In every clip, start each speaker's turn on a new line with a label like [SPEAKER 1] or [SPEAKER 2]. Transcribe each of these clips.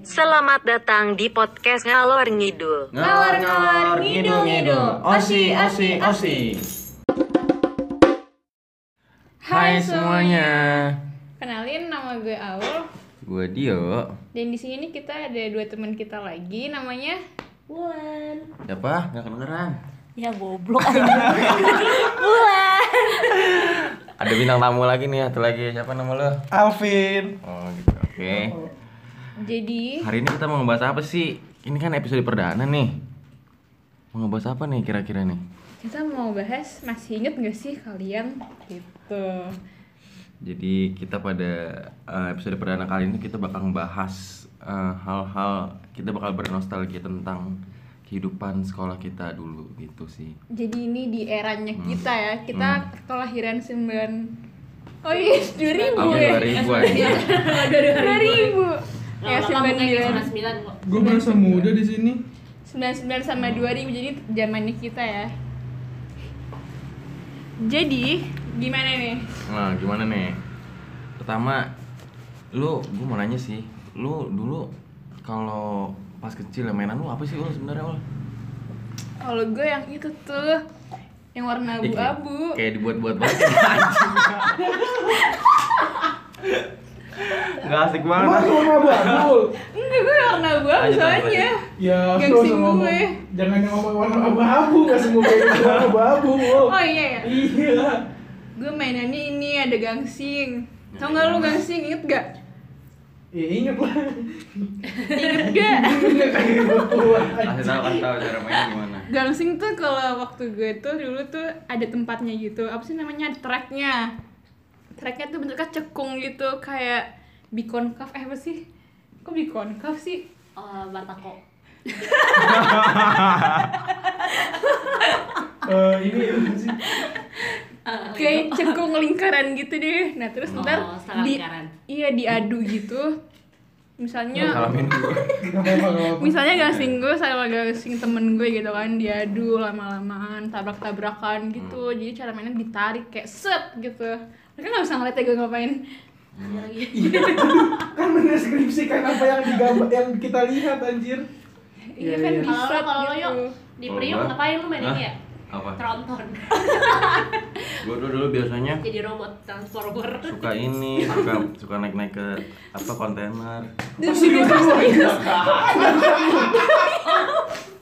[SPEAKER 1] Selamat datang di podcast Ngalor Ngidul.
[SPEAKER 2] Ngalor-ngalor, ngidul-ngidul, osi, osi, osi. Hai semuanya,
[SPEAKER 3] Kenalin nama gue Aul
[SPEAKER 2] gue Dio.
[SPEAKER 3] dan di sini kita ada dua teman kita lagi namanya
[SPEAKER 2] Siapa? Gak kedengeran.
[SPEAKER 4] Ya goblok aja. Bulan.
[SPEAKER 2] Ada bintang tamu lagi nih, satu lagi. Siapa nama lo?
[SPEAKER 5] Alvin.
[SPEAKER 2] Oh gitu, oke.
[SPEAKER 3] jadi
[SPEAKER 2] Hari ini kita mau ngebahas apa sih? Ini kan episode perdana nih. Mau ngebahas apa nih kira-kira nih?
[SPEAKER 3] kita mau bahas masih inget gak sih kalian gitu
[SPEAKER 2] Jadi kita pada eh, episode perdana kali ini kita bakal ngebahas eh, hal-hal kita bakal bernostalgia tentang kehidupan sekolah kita dulu gitu sih.
[SPEAKER 3] jadi ini di eranya kita ya kita kelahiran 9 oh iya 2000
[SPEAKER 2] Tahun
[SPEAKER 3] ya
[SPEAKER 2] 2000 aja.
[SPEAKER 3] 2000 ya 99
[SPEAKER 5] Gue merasa muda di sini.
[SPEAKER 3] 99 sama 2000 jadi zamannya kita ya jadi gimana nih
[SPEAKER 2] Nah, gimana nih? Pertama, lu gue mau nanya sih, lu dulu kalau pas kecil ya, mainan lu apa sih lu sebenarnya lu?
[SPEAKER 3] kalau gue yang itu tuh yang warna
[SPEAKER 2] Ya, kayak-
[SPEAKER 3] abu-abu
[SPEAKER 2] Kayak dibuat-buat banget. ya, anjing. Gak asik
[SPEAKER 5] Lu
[SPEAKER 2] banget.
[SPEAKER 5] cuma abul.
[SPEAKER 3] Enggak, gue warna gue
[SPEAKER 2] Lanjut,
[SPEAKER 3] soalnya
[SPEAKER 2] lanjut,
[SPEAKER 5] Ya,
[SPEAKER 3] Gengsi
[SPEAKER 5] lu usah ngomong.
[SPEAKER 3] gue.
[SPEAKER 5] Jangan ngomong warna abu-abu, gak semua kayak gitu warna abu-abu. Bul.
[SPEAKER 3] Oh iya ya
[SPEAKER 5] Iya.
[SPEAKER 3] Gue mainannya ini ada gangsing Tau gak lu gangsing, inget gak?
[SPEAKER 5] Ya inget lah.
[SPEAKER 3] Inget gak?
[SPEAKER 5] Inget kayak gitu.
[SPEAKER 2] Kasih tahu kasih tahu cara mainnya gimana.
[SPEAKER 3] gangsing tuh kalau waktu gue tuh dulu tuh ada tempatnya gitu Apa sih namanya? Ada tracknya Tracknya tuh bentuknya cekung gitu Kayak bikonkaf, eh apa sih? Kok bikonkaf sih?
[SPEAKER 4] Oh, Batako.
[SPEAKER 5] Eh, ini apa sih?
[SPEAKER 3] Kayak cekung lingkaran gitu deh Nah terus
[SPEAKER 4] Oh,
[SPEAKER 3] ntar
[SPEAKER 4] setengah
[SPEAKER 3] di-
[SPEAKER 4] lingkaran.
[SPEAKER 3] Iya diadu gitu Misalnya
[SPEAKER 2] Salamin dulu.
[SPEAKER 5] Kenapa kalau
[SPEAKER 3] misalnya gasing gue sama gasing temen gue gitu kan diadu lama-lamaan tabrak-tabrakan
[SPEAKER 5] Hmm.
[SPEAKER 3] gitu jadi cara mainnya ditarik kayak set gitu mereka nggak bisa ngeliat ya gue ngapain
[SPEAKER 5] kan mendeskripsikan apa yang digambar yang kita lihat anjir.
[SPEAKER 3] iya
[SPEAKER 5] Iya,
[SPEAKER 3] kan
[SPEAKER 5] iya.
[SPEAKER 3] di
[SPEAKER 6] Kalau
[SPEAKER 3] set
[SPEAKER 6] lo- kalau lo
[SPEAKER 3] gitu
[SPEAKER 6] yuk di
[SPEAKER 5] Oh,
[SPEAKER 2] Kalau
[SPEAKER 6] Priuk
[SPEAKER 2] gua-
[SPEAKER 6] ngapain lu mainin
[SPEAKER 2] Hah?
[SPEAKER 6] ya?
[SPEAKER 2] Apa?
[SPEAKER 6] Tronton.
[SPEAKER 2] Gue dulu, dulu biasanya
[SPEAKER 6] Jadi robot transformer.
[SPEAKER 2] suka ini, suka suka naik-naik ke apa kontainer.
[SPEAKER 3] Dan serius serius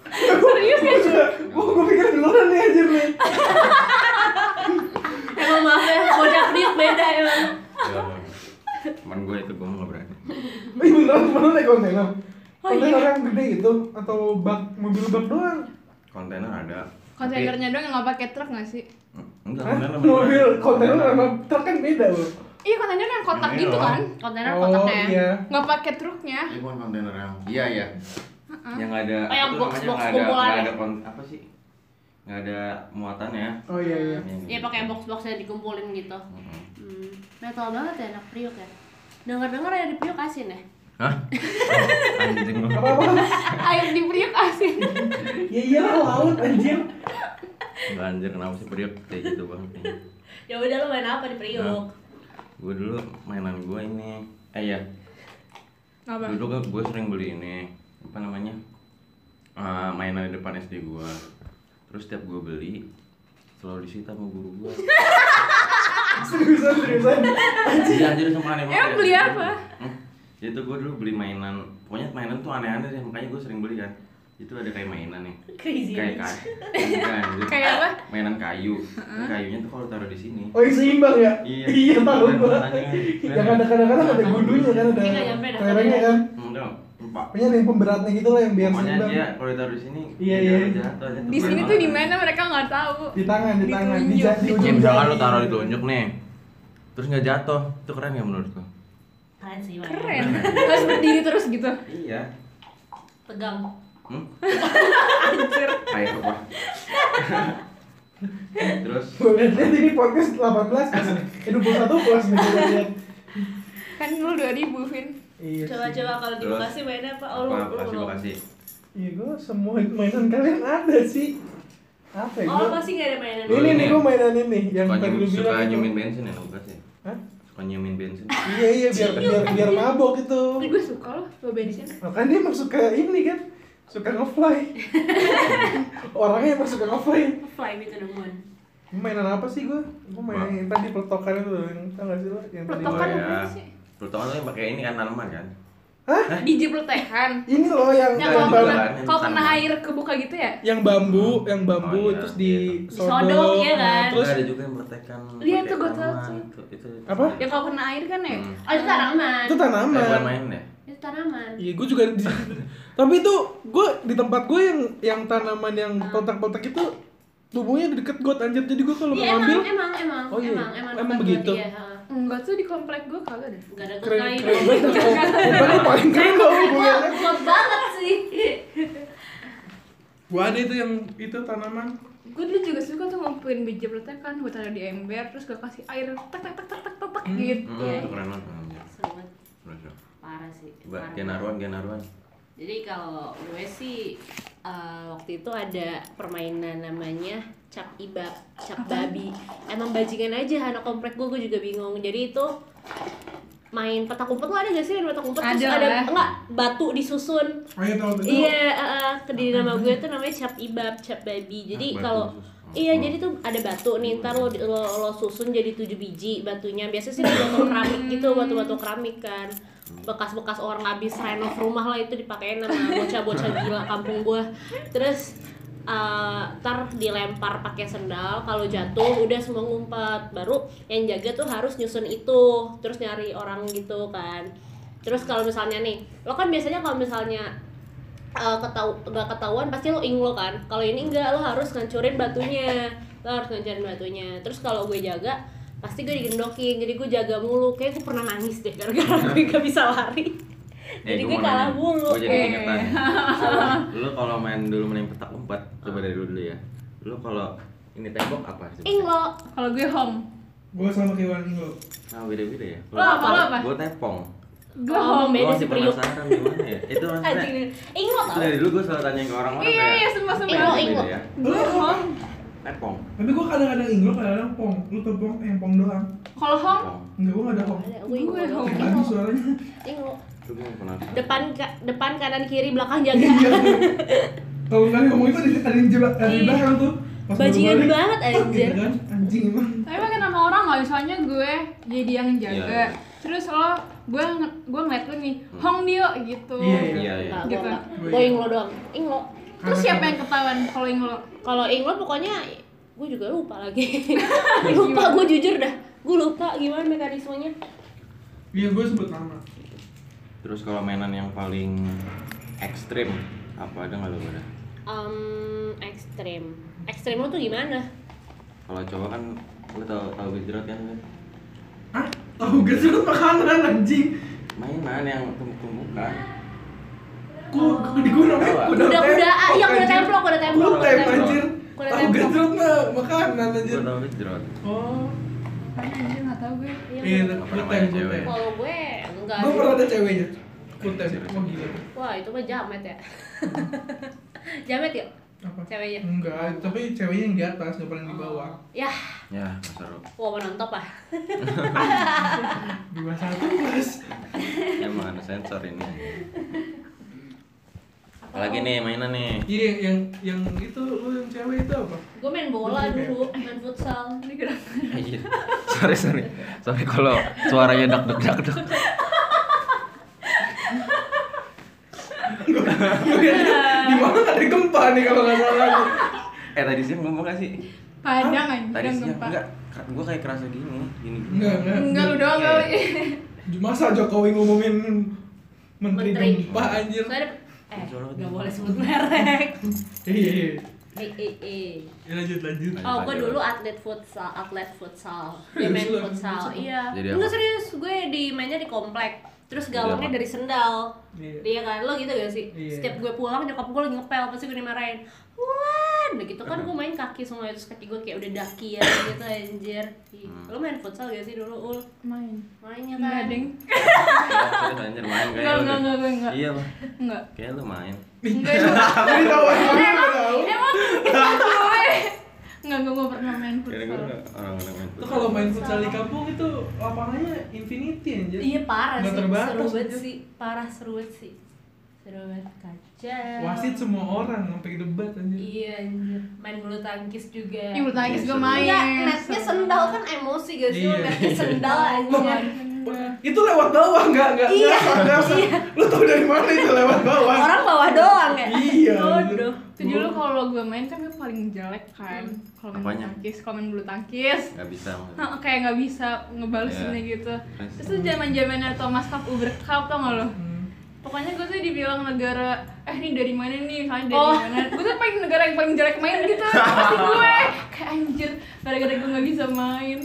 [SPEAKER 3] serius ya Ju?
[SPEAKER 5] Gua gua pikir duluan nih anjir nih.
[SPEAKER 6] Emang maaf ya, bocah Priuk beda ya, emang.
[SPEAKER 2] Iya. Cuman gue itu gue mau nggak berani.
[SPEAKER 5] Ih, beneran beneran naik kontainer.
[SPEAKER 3] Oh, iya.
[SPEAKER 5] Kontainer yang gede itu atau bak mobil bak doang?
[SPEAKER 2] Kontainer ada.
[SPEAKER 3] kontainernya doang yang nggak pakai truk nggak sih
[SPEAKER 2] Tapi- mm, Enggak,
[SPEAKER 5] Hah?
[SPEAKER 2] kontainer beneran.
[SPEAKER 5] Mobil kontainer sama truk kan beda loh.
[SPEAKER 3] iya kontainernya yang kotak
[SPEAKER 2] Iya.
[SPEAKER 3] gitu kan
[SPEAKER 6] Kontainer
[SPEAKER 5] Oh,
[SPEAKER 6] kotaknya. ya?
[SPEAKER 5] iya.
[SPEAKER 3] nggak pakai truknya
[SPEAKER 2] Ini bukan kontainer yang. Iya ya. Yang nggak ada.
[SPEAKER 6] Oh, yang
[SPEAKER 2] apa tuh
[SPEAKER 6] box-
[SPEAKER 2] namanya?
[SPEAKER 6] box
[SPEAKER 2] Nggak ada,
[SPEAKER 6] kumpulan
[SPEAKER 2] nggak
[SPEAKER 6] ya?
[SPEAKER 2] ada kon, apa sih? Nggak ada muatan ya.
[SPEAKER 5] Oh iya iya.
[SPEAKER 6] Dia pakai box-box yang dikumpulin gitu. Hmm. Metal banget ya anak Priuk ya. Dengar-dengar ada di Priuk asin ya.
[SPEAKER 2] Hah? Anjing lu.
[SPEAKER 5] Apa apa?
[SPEAKER 3] air di priuk asin
[SPEAKER 5] Ya iyalah laut anjir.
[SPEAKER 2] Nggak anjir kenapa sih periuk kayak gitu banget nih.
[SPEAKER 6] Ya udah lu main apa di Priuk?
[SPEAKER 2] Nah, gue dulu mainan gue ini. Eh ya.
[SPEAKER 3] apa
[SPEAKER 2] Dulu kan gue sering beli ini apa namanya eh, mainan di depan SD gue. Terus setiap gue beli selalu disita sama guru gue.
[SPEAKER 5] Seriusan seriusan.
[SPEAKER 2] Iya anjir sama aneh banget.
[SPEAKER 3] Emang beli apa?
[SPEAKER 2] Hmm? Jadi tuh gue dulu beli mainan, pokoknya mainan tuh aneh-aneh deh, makanya gue sering beli kan. Itu ada kayak mainan nih.
[SPEAKER 6] Crazy.
[SPEAKER 2] Kayak kayu. Bukan, anjir.
[SPEAKER 3] Kayak apa?
[SPEAKER 2] Mainan kayu. Nah, Kayunya tuh kalau taruh di sini.
[SPEAKER 5] Oh yang seimbang ya?
[SPEAKER 2] Iya.
[SPEAKER 5] Iya tahu
[SPEAKER 2] Bener,
[SPEAKER 5] gua.
[SPEAKER 2] makanya.
[SPEAKER 5] Yang ada kadang-kadang ada gundunya kan ada.
[SPEAKER 6] Iya, nggak nyampe dah.
[SPEAKER 5] Lerengnya kan.
[SPEAKER 2] Enggak, Hmm, lupa.
[SPEAKER 5] Punya ada yang pemberatnya gitu lah yang biar
[SPEAKER 2] Pokoknya
[SPEAKER 5] seimbang.
[SPEAKER 2] dia kalau ditaruh di sini,
[SPEAKER 5] Iya,
[SPEAKER 2] dia
[SPEAKER 5] iya.
[SPEAKER 2] jatuh aja.
[SPEAKER 3] di sini tuh di mana mereka nggak tahu
[SPEAKER 5] Di tangan, di tangan, di
[SPEAKER 3] Ditunjuk.
[SPEAKER 5] jari, di
[SPEAKER 2] Ya
[SPEAKER 5] ujung
[SPEAKER 2] misalkan
[SPEAKER 5] jari.
[SPEAKER 2] lo taruh di telunjuk nih. Terus nggak jatuh, itu keren ya menurut lo?
[SPEAKER 6] Keren sih. Bang.
[SPEAKER 3] keren harus berdiri terus gitu
[SPEAKER 2] Iya.
[SPEAKER 6] Tegang.
[SPEAKER 2] Hmm? Kayak apa? Terus
[SPEAKER 5] Gua lihat ini podcast 18 kelas eh, 21 kelas nih gua lihat.
[SPEAKER 3] kan lu 2000 Vin
[SPEAKER 5] Iya. sih.
[SPEAKER 6] Coba-coba kalau di
[SPEAKER 2] Terus?
[SPEAKER 6] Bekasi mainnya apa? Oh, lu,
[SPEAKER 2] apa
[SPEAKER 6] lu,
[SPEAKER 2] kasih
[SPEAKER 6] lu.
[SPEAKER 2] kasih
[SPEAKER 5] Iya gua semua mainan kalian ada sih. Apa ya?
[SPEAKER 6] Oh,
[SPEAKER 5] gua?
[SPEAKER 6] pasti gak ada mainan.
[SPEAKER 2] Lu-
[SPEAKER 5] Ini nih gua mainan ini yang
[SPEAKER 2] suka
[SPEAKER 5] tadi
[SPEAKER 2] nyum,
[SPEAKER 5] lu
[SPEAKER 2] suka
[SPEAKER 5] bilang. itu.
[SPEAKER 2] nyumin bensin ya lo kasih
[SPEAKER 5] Hah?
[SPEAKER 2] suka Nyiumin bensin.
[SPEAKER 5] iya iya biar biar biar mabok itu
[SPEAKER 3] Tapi Oh, gue suka loh bawa bensin
[SPEAKER 5] makanya dia emang suka ini kan suka ngefly orangnya emang suka ngefly
[SPEAKER 6] Fly gitu me to the moon.
[SPEAKER 5] mainan apa sih gua gua main yang tadi peletokan itu yang tau gak sih lo yang tadi
[SPEAKER 3] Peletokan?
[SPEAKER 2] Gua
[SPEAKER 3] apa
[SPEAKER 2] ya.
[SPEAKER 3] sih?
[SPEAKER 2] Peletokan lo yang pakai ini kan tanaman kan?
[SPEAKER 3] di jepletehan
[SPEAKER 5] ini loh yang
[SPEAKER 3] yang kalau
[SPEAKER 5] yang, bam-
[SPEAKER 3] kena,
[SPEAKER 2] yang
[SPEAKER 3] kalau kena
[SPEAKER 2] tanah.
[SPEAKER 3] air kebuka gitu ya
[SPEAKER 5] yang bambu yang bambu
[SPEAKER 2] Oh, iya,
[SPEAKER 5] terus
[SPEAKER 2] iya.
[SPEAKER 5] disodok
[SPEAKER 6] Disodok, iya kan?
[SPEAKER 5] nah, terus
[SPEAKER 2] Terus ada juga yang bertekan.
[SPEAKER 3] Iya,
[SPEAKER 2] pakai
[SPEAKER 3] itu gua tahu
[SPEAKER 2] tanaman,
[SPEAKER 3] tuh.
[SPEAKER 2] Itu, itu, itu.
[SPEAKER 5] Apa?
[SPEAKER 3] yang kalau kena air kan ya
[SPEAKER 2] Hmm.
[SPEAKER 6] Oh itu tanaman.
[SPEAKER 5] itu
[SPEAKER 2] Eh, bukan
[SPEAKER 5] tanaman
[SPEAKER 2] main deh.
[SPEAKER 6] Itu tanaman.
[SPEAKER 5] Iya, gue juga di Tapi itu gue di tempat gue yang yang tanaman yang
[SPEAKER 6] Ah.
[SPEAKER 5] kotak-kotak itu tubuhnya di deket got anjir. Jadi gue kalau mau
[SPEAKER 6] Iya
[SPEAKER 5] ngambil
[SPEAKER 6] emang emang emang
[SPEAKER 5] Oh, iya.
[SPEAKER 6] emang emang
[SPEAKER 5] Emang
[SPEAKER 6] tempat
[SPEAKER 5] begitu?
[SPEAKER 6] buat dia, ha.
[SPEAKER 3] enggak tuh di komplek gue kagak ada
[SPEAKER 6] Gak ada
[SPEAKER 5] keren
[SPEAKER 6] kekai
[SPEAKER 5] keren banget. Bukan lu paling keren dong hubungannya.
[SPEAKER 6] Gue banget sih.
[SPEAKER 5] Gue ada itu yang itu tanaman.
[SPEAKER 3] gue dulu juga suka tuh ngumpulin biji jepletehan gue taruh di ember terus gue kasih air tek tek tek tek tek tek, tek gitu
[SPEAKER 2] Hmm, itu keren banget. anjir.
[SPEAKER 6] Seru banget.
[SPEAKER 2] Keren, keren.
[SPEAKER 6] Parah sih.
[SPEAKER 2] Coba
[SPEAKER 6] parah.
[SPEAKER 2] genaruan, genaruan.
[SPEAKER 6] Jadi kalau gue sih eh, waktu itu ada permainan namanya cap iba, cap babi. Emang bajingan aja anak komplek gue, gue juga bingung. Jadi itu main petak umpet lo ada gak sih main petak umpet terus
[SPEAKER 3] Ada
[SPEAKER 6] ada
[SPEAKER 3] lah.
[SPEAKER 6] enggak batu disusun
[SPEAKER 5] Oh iya tahu itu.
[SPEAKER 6] Iya, eh, eh, ke di nama gue tuh namanya cap ibab, cap babi.
[SPEAKER 2] batu
[SPEAKER 6] Jadi kalau
[SPEAKER 2] khusus.
[SPEAKER 6] iya,
[SPEAKER 2] Hmm.
[SPEAKER 6] jadi tuh ada batu nih. Ntar lo, lo lo susun jadi tujuh biji batunya. Biasanya sih dari batu keramik gitu, batu-batu keramik kan. Bekas-bekas orang habis renov rumah lah itu dipakein sama bocah-bocah gila kampung gue. Terus eh, ntar dilempar pakai sendal kalau jatuh udah semua ngumpet baru yang jaga tuh harus nyusun itu terus nyari orang gitu kan terus kalau misalnya nih lo kan biasanya kalau misalnya eh, ketau gak ketahuan pasti lo ing lo kan kalau ini enggak lo harus ngancurin batunya lo harus ngancurin batunya terus kalau gue jaga pasti gue digendokin jadi gue jaga mulu kayak gue pernah nangis deh gara-gara gue gak bisa lari
[SPEAKER 2] Eh, gua
[SPEAKER 6] jadi gue
[SPEAKER 2] mau
[SPEAKER 6] kalah
[SPEAKER 2] nanya.
[SPEAKER 6] mulu
[SPEAKER 2] Gua jadi
[SPEAKER 3] Eh.
[SPEAKER 2] ingetan. ya. Lu kalau main dulu main petak umpet, coba dari lu dulu ya. Lu kalau ini tembok apa sih?
[SPEAKER 6] ing lo
[SPEAKER 3] kalau gue home
[SPEAKER 5] Gue sama kayak lo.
[SPEAKER 2] Nah, beda-beda ya.
[SPEAKER 3] Lu apa, lu apa?
[SPEAKER 2] Gua tepong.
[SPEAKER 3] gue
[SPEAKER 6] Oh,
[SPEAKER 3] home
[SPEAKER 6] Beda
[SPEAKER 2] Gua masih
[SPEAKER 6] sih, Priuk.
[SPEAKER 2] penasaran gimana ya? Itu maksudnya
[SPEAKER 6] anjing ing lo
[SPEAKER 2] itu
[SPEAKER 6] tau
[SPEAKER 2] dari dulu gua selalu tanya ke orang-orang
[SPEAKER 3] iya iya
[SPEAKER 2] kayak
[SPEAKER 3] semua
[SPEAKER 6] Ing lo,
[SPEAKER 3] semua
[SPEAKER 6] ing lo.
[SPEAKER 2] beda-beda ya.
[SPEAKER 3] gue home
[SPEAKER 2] Tepong.
[SPEAKER 5] Tapi gue kadang-kadang inglo, kadang-kadang pong. Lu tuh pong, yang pong doang.
[SPEAKER 3] kalau home
[SPEAKER 2] Tepong.
[SPEAKER 5] Enggak, gue gak ada pong.
[SPEAKER 6] Ada, gue ing lo
[SPEAKER 3] Gue
[SPEAKER 6] dong.
[SPEAKER 3] home.
[SPEAKER 6] Ing
[SPEAKER 5] Lagi
[SPEAKER 6] lo,
[SPEAKER 5] suaranya.
[SPEAKER 6] ing lo.
[SPEAKER 2] Itu gua penasaran.
[SPEAKER 6] depan ka- depan kanan kiri belakang jaga
[SPEAKER 5] Iya. Kalau kali ngomong itu ada yang jebak dari belakang tuh. Pas baru
[SPEAKER 6] Iya. Bajingan
[SPEAKER 5] balik,
[SPEAKER 6] banget,
[SPEAKER 5] gitu
[SPEAKER 6] anjir.
[SPEAKER 5] kan. Anjing emang.
[SPEAKER 3] tapi makin sama orang nggak misalnya gue jadi
[SPEAKER 2] Iya,
[SPEAKER 3] yang
[SPEAKER 2] Hmm.
[SPEAKER 3] jaga
[SPEAKER 2] iya.
[SPEAKER 3] terus lo gue nge- gue ngeliat lo nih home dio gitu
[SPEAKER 5] Iya, iya.
[SPEAKER 2] Iya, iya.
[SPEAKER 6] Enggak, gue
[SPEAKER 3] Gitu.
[SPEAKER 6] enggak. Gue ing lo doang ing lo
[SPEAKER 3] terus siapa yang ketahuan kalau yang lo
[SPEAKER 6] kalau England pokoknya gue juga lupa lagi lupa gue jujur dah gue lupa gimana mekanismenya
[SPEAKER 5] Iya, gue sebut nama.
[SPEAKER 2] Terus kalau mainan yang paling ekstrim apa ada nggak lu pada?
[SPEAKER 6] um, ekstrim ekstrim lo tuh gimana
[SPEAKER 2] Kalau cowok kan lu tau tau gejrot kan? Lu?
[SPEAKER 5] Hah? Tahu gak sih lu makanan anjing?
[SPEAKER 2] Mainan yang tumbuh-tumbuhan.
[SPEAKER 5] Ku di gunung eh,
[SPEAKER 6] kuda kudaan iya kuda
[SPEAKER 5] anjir.
[SPEAKER 6] templok kuda templok
[SPEAKER 5] Kuda
[SPEAKER 6] kuda templok.
[SPEAKER 5] anjir.
[SPEAKER 6] Kuda
[SPEAKER 5] Tahu
[SPEAKER 6] templok.
[SPEAKER 5] gak sih lu mah makanan anjir?
[SPEAKER 2] Gua tau gejrot.
[SPEAKER 5] Oh.
[SPEAKER 3] Apaan anjir nggak tahu gue
[SPEAKER 5] Iya,
[SPEAKER 6] Iya,
[SPEAKER 2] Apa namanya
[SPEAKER 5] kutem,
[SPEAKER 2] cewek?
[SPEAKER 5] kutem.
[SPEAKER 6] kalau gue enggak
[SPEAKER 5] Gue pernah ada ceweknya. Kutem, oh gila.
[SPEAKER 6] wah itu mah jamet ya jamet ya
[SPEAKER 5] Apa?
[SPEAKER 6] ceweknya
[SPEAKER 5] Enggak, tapi ceweknya yang di atas, gak pernah yang di bawah.
[SPEAKER 6] ya
[SPEAKER 2] Ya, nggak seru.
[SPEAKER 6] wah menantap ah
[SPEAKER 5] Di bawah satu, Mas.
[SPEAKER 2] Emang ada sensor ini. Apalagi nih mainan nih.
[SPEAKER 5] Iya, yang yang itu lu yang cewek itu apa?
[SPEAKER 6] gue main bola dulu main futsal
[SPEAKER 2] Anjir. Iya. sorry sorry sorry kalau suaranya dak dak dak dak.
[SPEAKER 5] di mana ada gempa nih kalau nggak salah.
[SPEAKER 2] Eh tadi siang ngomong gak sih?
[SPEAKER 3] padang anjir
[SPEAKER 2] Tadi
[SPEAKER 3] yang
[SPEAKER 2] siang
[SPEAKER 3] Ah, gempa.
[SPEAKER 2] enggak. Gue kayak kerasa gini, gini gini.
[SPEAKER 5] Enggak, enggak.
[SPEAKER 3] enggak lu
[SPEAKER 2] Iya,
[SPEAKER 3] doang kali
[SPEAKER 5] Masa Jokowi ngomongin menteri,
[SPEAKER 6] Menteri.
[SPEAKER 5] gempa anjir.
[SPEAKER 6] Soalnya- eh nggak boleh sebut merek
[SPEAKER 5] Iya, iya.
[SPEAKER 6] eh eh eh
[SPEAKER 5] Ya, lanjut, lanjut.
[SPEAKER 6] oh gue dulu atlet futsal atlet futsal gue
[SPEAKER 5] Serius
[SPEAKER 6] main
[SPEAKER 5] lu?
[SPEAKER 6] futsal iya
[SPEAKER 2] Jadi apa?
[SPEAKER 6] enggak serius gue di mainnya di komplek terus
[SPEAKER 2] Jadi
[SPEAKER 6] gawangnya
[SPEAKER 2] apa?
[SPEAKER 6] dari sendal
[SPEAKER 5] Iya.
[SPEAKER 6] Iya kan, lo gitu gak sih?
[SPEAKER 5] Iya.
[SPEAKER 6] Setiap gue pulang, nyokap gue lagi ngepel, pasti gue dimarahin Wulan, gitu kan gue main kaki semua, terus kaki gue kayak udah daki ya gitu anjir Ih,
[SPEAKER 2] Hmm.
[SPEAKER 6] Lo main futsal gak sih dulu, Ul?
[SPEAKER 3] main
[SPEAKER 6] Mainnya
[SPEAKER 3] enggak
[SPEAKER 6] kan?
[SPEAKER 3] deng
[SPEAKER 2] Serius anjir main kayak
[SPEAKER 3] Enggak,
[SPEAKER 2] lu
[SPEAKER 3] enggak,
[SPEAKER 2] deh.
[SPEAKER 3] enggak, enggak, enggak.
[SPEAKER 2] Iya, Bang.
[SPEAKER 3] enggak
[SPEAKER 2] kayak lu main.
[SPEAKER 5] Ini tahu, ini tahu.
[SPEAKER 3] Emang itu gue Nggak, gue gak pernah main
[SPEAKER 2] Karena
[SPEAKER 3] futsal.
[SPEAKER 2] gue orang-orang main
[SPEAKER 5] Itu kalau main futsal di kampung itu lapangannya infinity anjir.
[SPEAKER 4] Iya parah sih,
[SPEAKER 5] Nggak
[SPEAKER 4] seru
[SPEAKER 5] terbatas.
[SPEAKER 4] banget
[SPEAKER 5] anjir.
[SPEAKER 4] sih, parah seru banget sih, seru banget kacau.
[SPEAKER 5] Wasit semua orang sampai debat anjir.
[SPEAKER 4] Iya anjir, main bulu tangkis juga.
[SPEAKER 3] Ih, bulu
[SPEAKER 2] Iya,
[SPEAKER 3] tangkis gue main.
[SPEAKER 6] Enggak, netnya sendal kan emosi gak sih?
[SPEAKER 5] Iya.
[SPEAKER 6] Lu netnya sendal anjir
[SPEAKER 5] Hmm. Itu lewat bawah enggak enggak
[SPEAKER 4] Iya,
[SPEAKER 5] enggak usah. Lu tahu dari mana itu lewat bawah?
[SPEAKER 4] Orang bawah doang ya.
[SPEAKER 5] Iya. anjir.
[SPEAKER 4] Aduh.
[SPEAKER 3] Itu dulu kalau gue main kan gue paling jelek kan. Kalau
[SPEAKER 2] Hmm.
[SPEAKER 3] main bulu
[SPEAKER 2] Apanya?
[SPEAKER 3] tangkis, kalau main bulu tangkis.
[SPEAKER 2] Gak bisa
[SPEAKER 3] Nah, kayak nggak bisa ngebalesinnya
[SPEAKER 2] Iya.
[SPEAKER 3] gitu.
[SPEAKER 2] Terus?
[SPEAKER 3] Terus tuh zaman zamannya Thomas Cup, Uber Cup tau gak lo?
[SPEAKER 5] Hmm.
[SPEAKER 3] Pokoknya gue tuh dibilang negara, eh ini dari mana nih, misalnya dari
[SPEAKER 4] Oh.
[SPEAKER 3] mana Gue tuh paling negara yang paling jelek main gitu, pasti gue Kayak anjir, gara-gara gue gak bisa main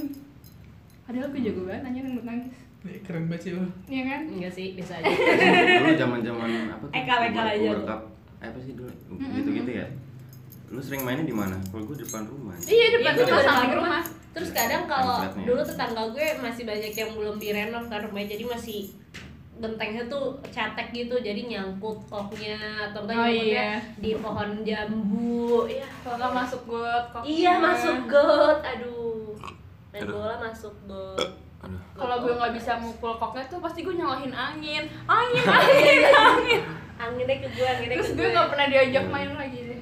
[SPEAKER 3] Padahal gue jago banget, nanya bulu tangkis
[SPEAKER 5] Nih, Keren banget sih lu.
[SPEAKER 3] Iya kan?
[SPEAKER 6] Enggak sih, biasa aja
[SPEAKER 2] dulu zaman zaman apa tuh?
[SPEAKER 4] Ekal- ekal
[SPEAKER 2] Uber-
[SPEAKER 4] aja
[SPEAKER 2] Uber
[SPEAKER 4] tuh.
[SPEAKER 2] Cup. Eh, apa sih dulu? Gitu gitu ya. Lu sering mainnya di mana? Kalau gue di depan rumah.
[SPEAKER 3] Iya,
[SPEAKER 6] Iya,
[SPEAKER 3] depan rumah,
[SPEAKER 6] gue juga
[SPEAKER 3] samping
[SPEAKER 6] depan
[SPEAKER 3] rumah
[SPEAKER 6] Terus kadang kalau
[SPEAKER 2] Template-nya.
[SPEAKER 6] dulu tetangga gue masih banyak yang belum direnov kan rumahnya Jadi masih gentengnya tuh cetek gitu jadi nyangkut koknya atau enggak
[SPEAKER 3] Oh, iya.
[SPEAKER 6] nyangkutnya di pohon jambu ya
[SPEAKER 3] Kalau masuk got, kok
[SPEAKER 6] iya masuk got aduh main
[SPEAKER 2] Aduh.
[SPEAKER 6] bola masuk got
[SPEAKER 2] Aduh.
[SPEAKER 3] kalau gue nggak bisa mukul koknya tuh pasti gue nyalahin angin angin angin angin
[SPEAKER 6] anginnya ke gue ya? Hmm. anginnya
[SPEAKER 3] terus
[SPEAKER 6] ke
[SPEAKER 3] gue nggak pernah diajak main lagi deh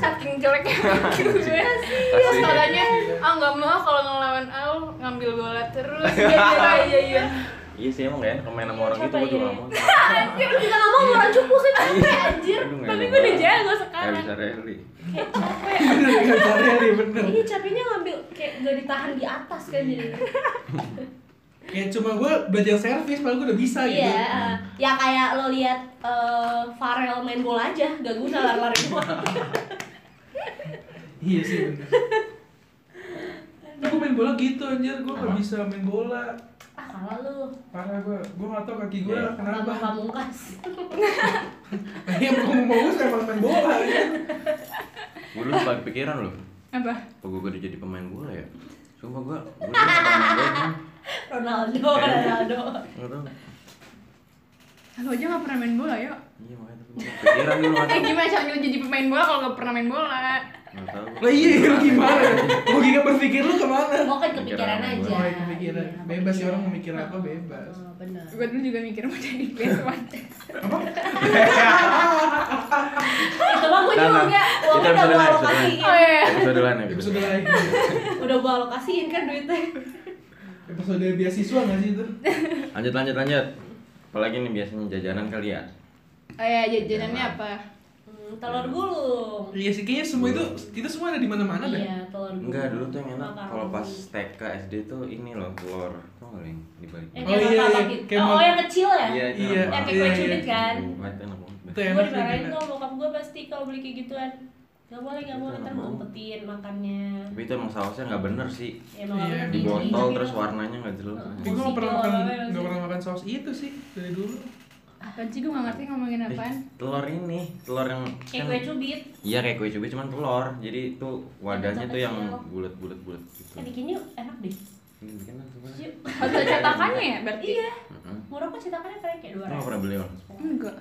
[SPEAKER 3] saking jeleknya gue terus
[SPEAKER 2] Kasihan.
[SPEAKER 3] katanya ah nggak mau kalau ngelawan Al ngambil bola terus iya iya iya iya
[SPEAKER 2] Iya sih emang ya, kalau main sama orang
[SPEAKER 6] Coba
[SPEAKER 2] gitu gue juga gak
[SPEAKER 6] iya.
[SPEAKER 2] mau.
[SPEAKER 6] Anjir, kita gak mau orang cupu sih capek anjir
[SPEAKER 2] Aduh, nggak
[SPEAKER 3] Iya. tapi
[SPEAKER 2] enak
[SPEAKER 3] gue
[SPEAKER 2] banget.
[SPEAKER 3] udah jago
[SPEAKER 2] Kayak
[SPEAKER 3] sekarang
[SPEAKER 2] bisa rally.
[SPEAKER 6] Kayak capek
[SPEAKER 5] Bener enggak cari Ali, bener.
[SPEAKER 6] Ini Iya, capeknya ngambil, kayak gak ditahan di atas kan jadi
[SPEAKER 5] Kayak Ya, cuma gue belajar servis padahal gue udah bisa gitu.
[SPEAKER 6] Iya, ya kayak lo lihat eh, Farel main bola aja, gak guna lari-lari doang
[SPEAKER 5] Iya sih bener. Gue main bola gitu anjir, gue gak bisa main bola
[SPEAKER 6] Ah kalah lo,
[SPEAKER 5] Parah gue, gue gak tau kaki gue
[SPEAKER 2] Iya.
[SPEAKER 6] sama
[SPEAKER 5] kenapa
[SPEAKER 6] pamungkas
[SPEAKER 5] Iya mau mau gue emang main bola ya
[SPEAKER 2] Gue dulu paling pikiran loh.
[SPEAKER 3] apa
[SPEAKER 2] Kok gue udah jadi pemain bola ya? Sumpah gue, gue dulu suka main bola. Bang.
[SPEAKER 6] Ronaldo,
[SPEAKER 2] Nggak
[SPEAKER 6] Ronaldo
[SPEAKER 2] tahu.
[SPEAKER 3] lo aja nggak pernah main bola yuk
[SPEAKER 2] Iya makanya tuh gua pikiran dulu nggak
[SPEAKER 3] eh
[SPEAKER 2] tahu.
[SPEAKER 3] gimana caranya lo jadi pemain bola kalau nggak pernah main bola
[SPEAKER 2] Nggak tahu.
[SPEAKER 5] Lah iya lu gimana? Logika berpikir lu kemana?
[SPEAKER 6] Gue kan kepikiran
[SPEAKER 2] Kepikiran
[SPEAKER 6] aja
[SPEAKER 5] Oh itu pikiran,
[SPEAKER 6] Iya,
[SPEAKER 5] bebas sih orang
[SPEAKER 6] kepikiran.
[SPEAKER 5] mau mikir apa bebas
[SPEAKER 6] Oh, Bener
[SPEAKER 3] gue dulu juga mikir mau jadi PS1
[SPEAKER 6] Itu mah gue
[SPEAKER 2] Nah, nah.
[SPEAKER 6] juga, uangnya
[SPEAKER 2] Kita
[SPEAKER 6] udah gue
[SPEAKER 2] beneran,
[SPEAKER 6] alokasiin
[SPEAKER 3] oh iya
[SPEAKER 2] Episode lain episode.
[SPEAKER 5] Episode lain,
[SPEAKER 6] Udah gue alokasiin kan duitnya
[SPEAKER 5] episode beasiswa gak sih itu?
[SPEAKER 2] Lanjut lanjut lanjut. Apalagi nih biasanya jajanan kali ya.
[SPEAKER 3] oh iya jajanannya apa
[SPEAKER 6] Hmm, Telur gulung
[SPEAKER 5] Iya sih, kayaknya semua itu, itu semua ada di mana mana deh
[SPEAKER 6] Iya, telur gulung
[SPEAKER 2] Enggak dulu tuh yang enak
[SPEAKER 6] Makaroni.
[SPEAKER 2] kalau pas TK SD tuh ini loh telur. Tau nggak yang dibalik?
[SPEAKER 6] Eh,
[SPEAKER 5] Oh,
[SPEAKER 6] kayak
[SPEAKER 5] iya,
[SPEAKER 6] martabak
[SPEAKER 5] iya.
[SPEAKER 6] gitu.
[SPEAKER 5] Kayak
[SPEAKER 6] Oh,
[SPEAKER 5] mar-
[SPEAKER 6] oh, yang kecil ya?
[SPEAKER 2] itu
[SPEAKER 5] Iya,
[SPEAKER 2] enak
[SPEAKER 6] Yang kayak
[SPEAKER 2] banget.
[SPEAKER 6] kue
[SPEAKER 5] iya,
[SPEAKER 6] cudit
[SPEAKER 5] iya.
[SPEAKER 6] kan?
[SPEAKER 2] Itu enak banget.
[SPEAKER 5] Itu
[SPEAKER 6] Gue
[SPEAKER 5] enak sih
[SPEAKER 6] dimarahin
[SPEAKER 5] enak.
[SPEAKER 6] tuh bokap gue pasti kalau beli kayak gituan Gak boleh, gak boleh, ntar gue umpetin makannya
[SPEAKER 2] Tapi itu emang sausnya nggak bener sih.
[SPEAKER 6] Ya emang
[SPEAKER 5] Iya,
[SPEAKER 6] gak
[SPEAKER 2] Di
[SPEAKER 6] boleh
[SPEAKER 2] botol
[SPEAKER 6] gitu.
[SPEAKER 2] terus warnanya nggak jelas.
[SPEAKER 5] Tapi gue gak pernah
[SPEAKER 6] Musik
[SPEAKER 5] makan, gak
[SPEAKER 6] doang, musik.
[SPEAKER 5] pernah makan saus itu sih dari dulu
[SPEAKER 3] apaan sih gue nggak ngerti ngomongin
[SPEAKER 2] Eh,
[SPEAKER 3] apaan
[SPEAKER 2] telur ini, telur yang
[SPEAKER 6] Kayak
[SPEAKER 2] kan-
[SPEAKER 6] kue cubit
[SPEAKER 2] Iya kayak kue cubit cuman telur. Jadi itu wadahnya tuh yang
[SPEAKER 6] Kecil.
[SPEAKER 2] bulat-bulat bulat gitu.
[SPEAKER 6] Eh bikin yuk, enak deh
[SPEAKER 2] Ini bikin lah, coba.
[SPEAKER 6] Yuk
[SPEAKER 3] harus ada cetakannya ya berarti
[SPEAKER 6] Iya,
[SPEAKER 2] Heeh.
[SPEAKER 6] murah kok cetakannya keren kayak dua
[SPEAKER 2] Lu nggak pernah beli orang?
[SPEAKER 3] enggak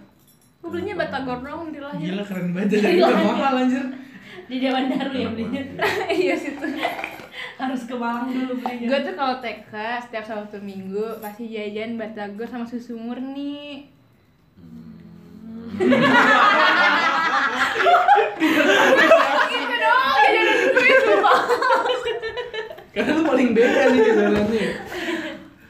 [SPEAKER 3] gue belinya batagor doang di lahir
[SPEAKER 5] Gila keren banget, dari itu mahal anjir
[SPEAKER 6] Di Dewan Daru ya belinya
[SPEAKER 3] iya situ
[SPEAKER 6] Harus ke Malang dulu belinya
[SPEAKER 3] gue tuh kalau TK setiap sabtu minggu pasti jajan batagor sama susu murni gitu dong jajanan gue sumpah
[SPEAKER 5] Karena lu paling beda sih jajarannya ya.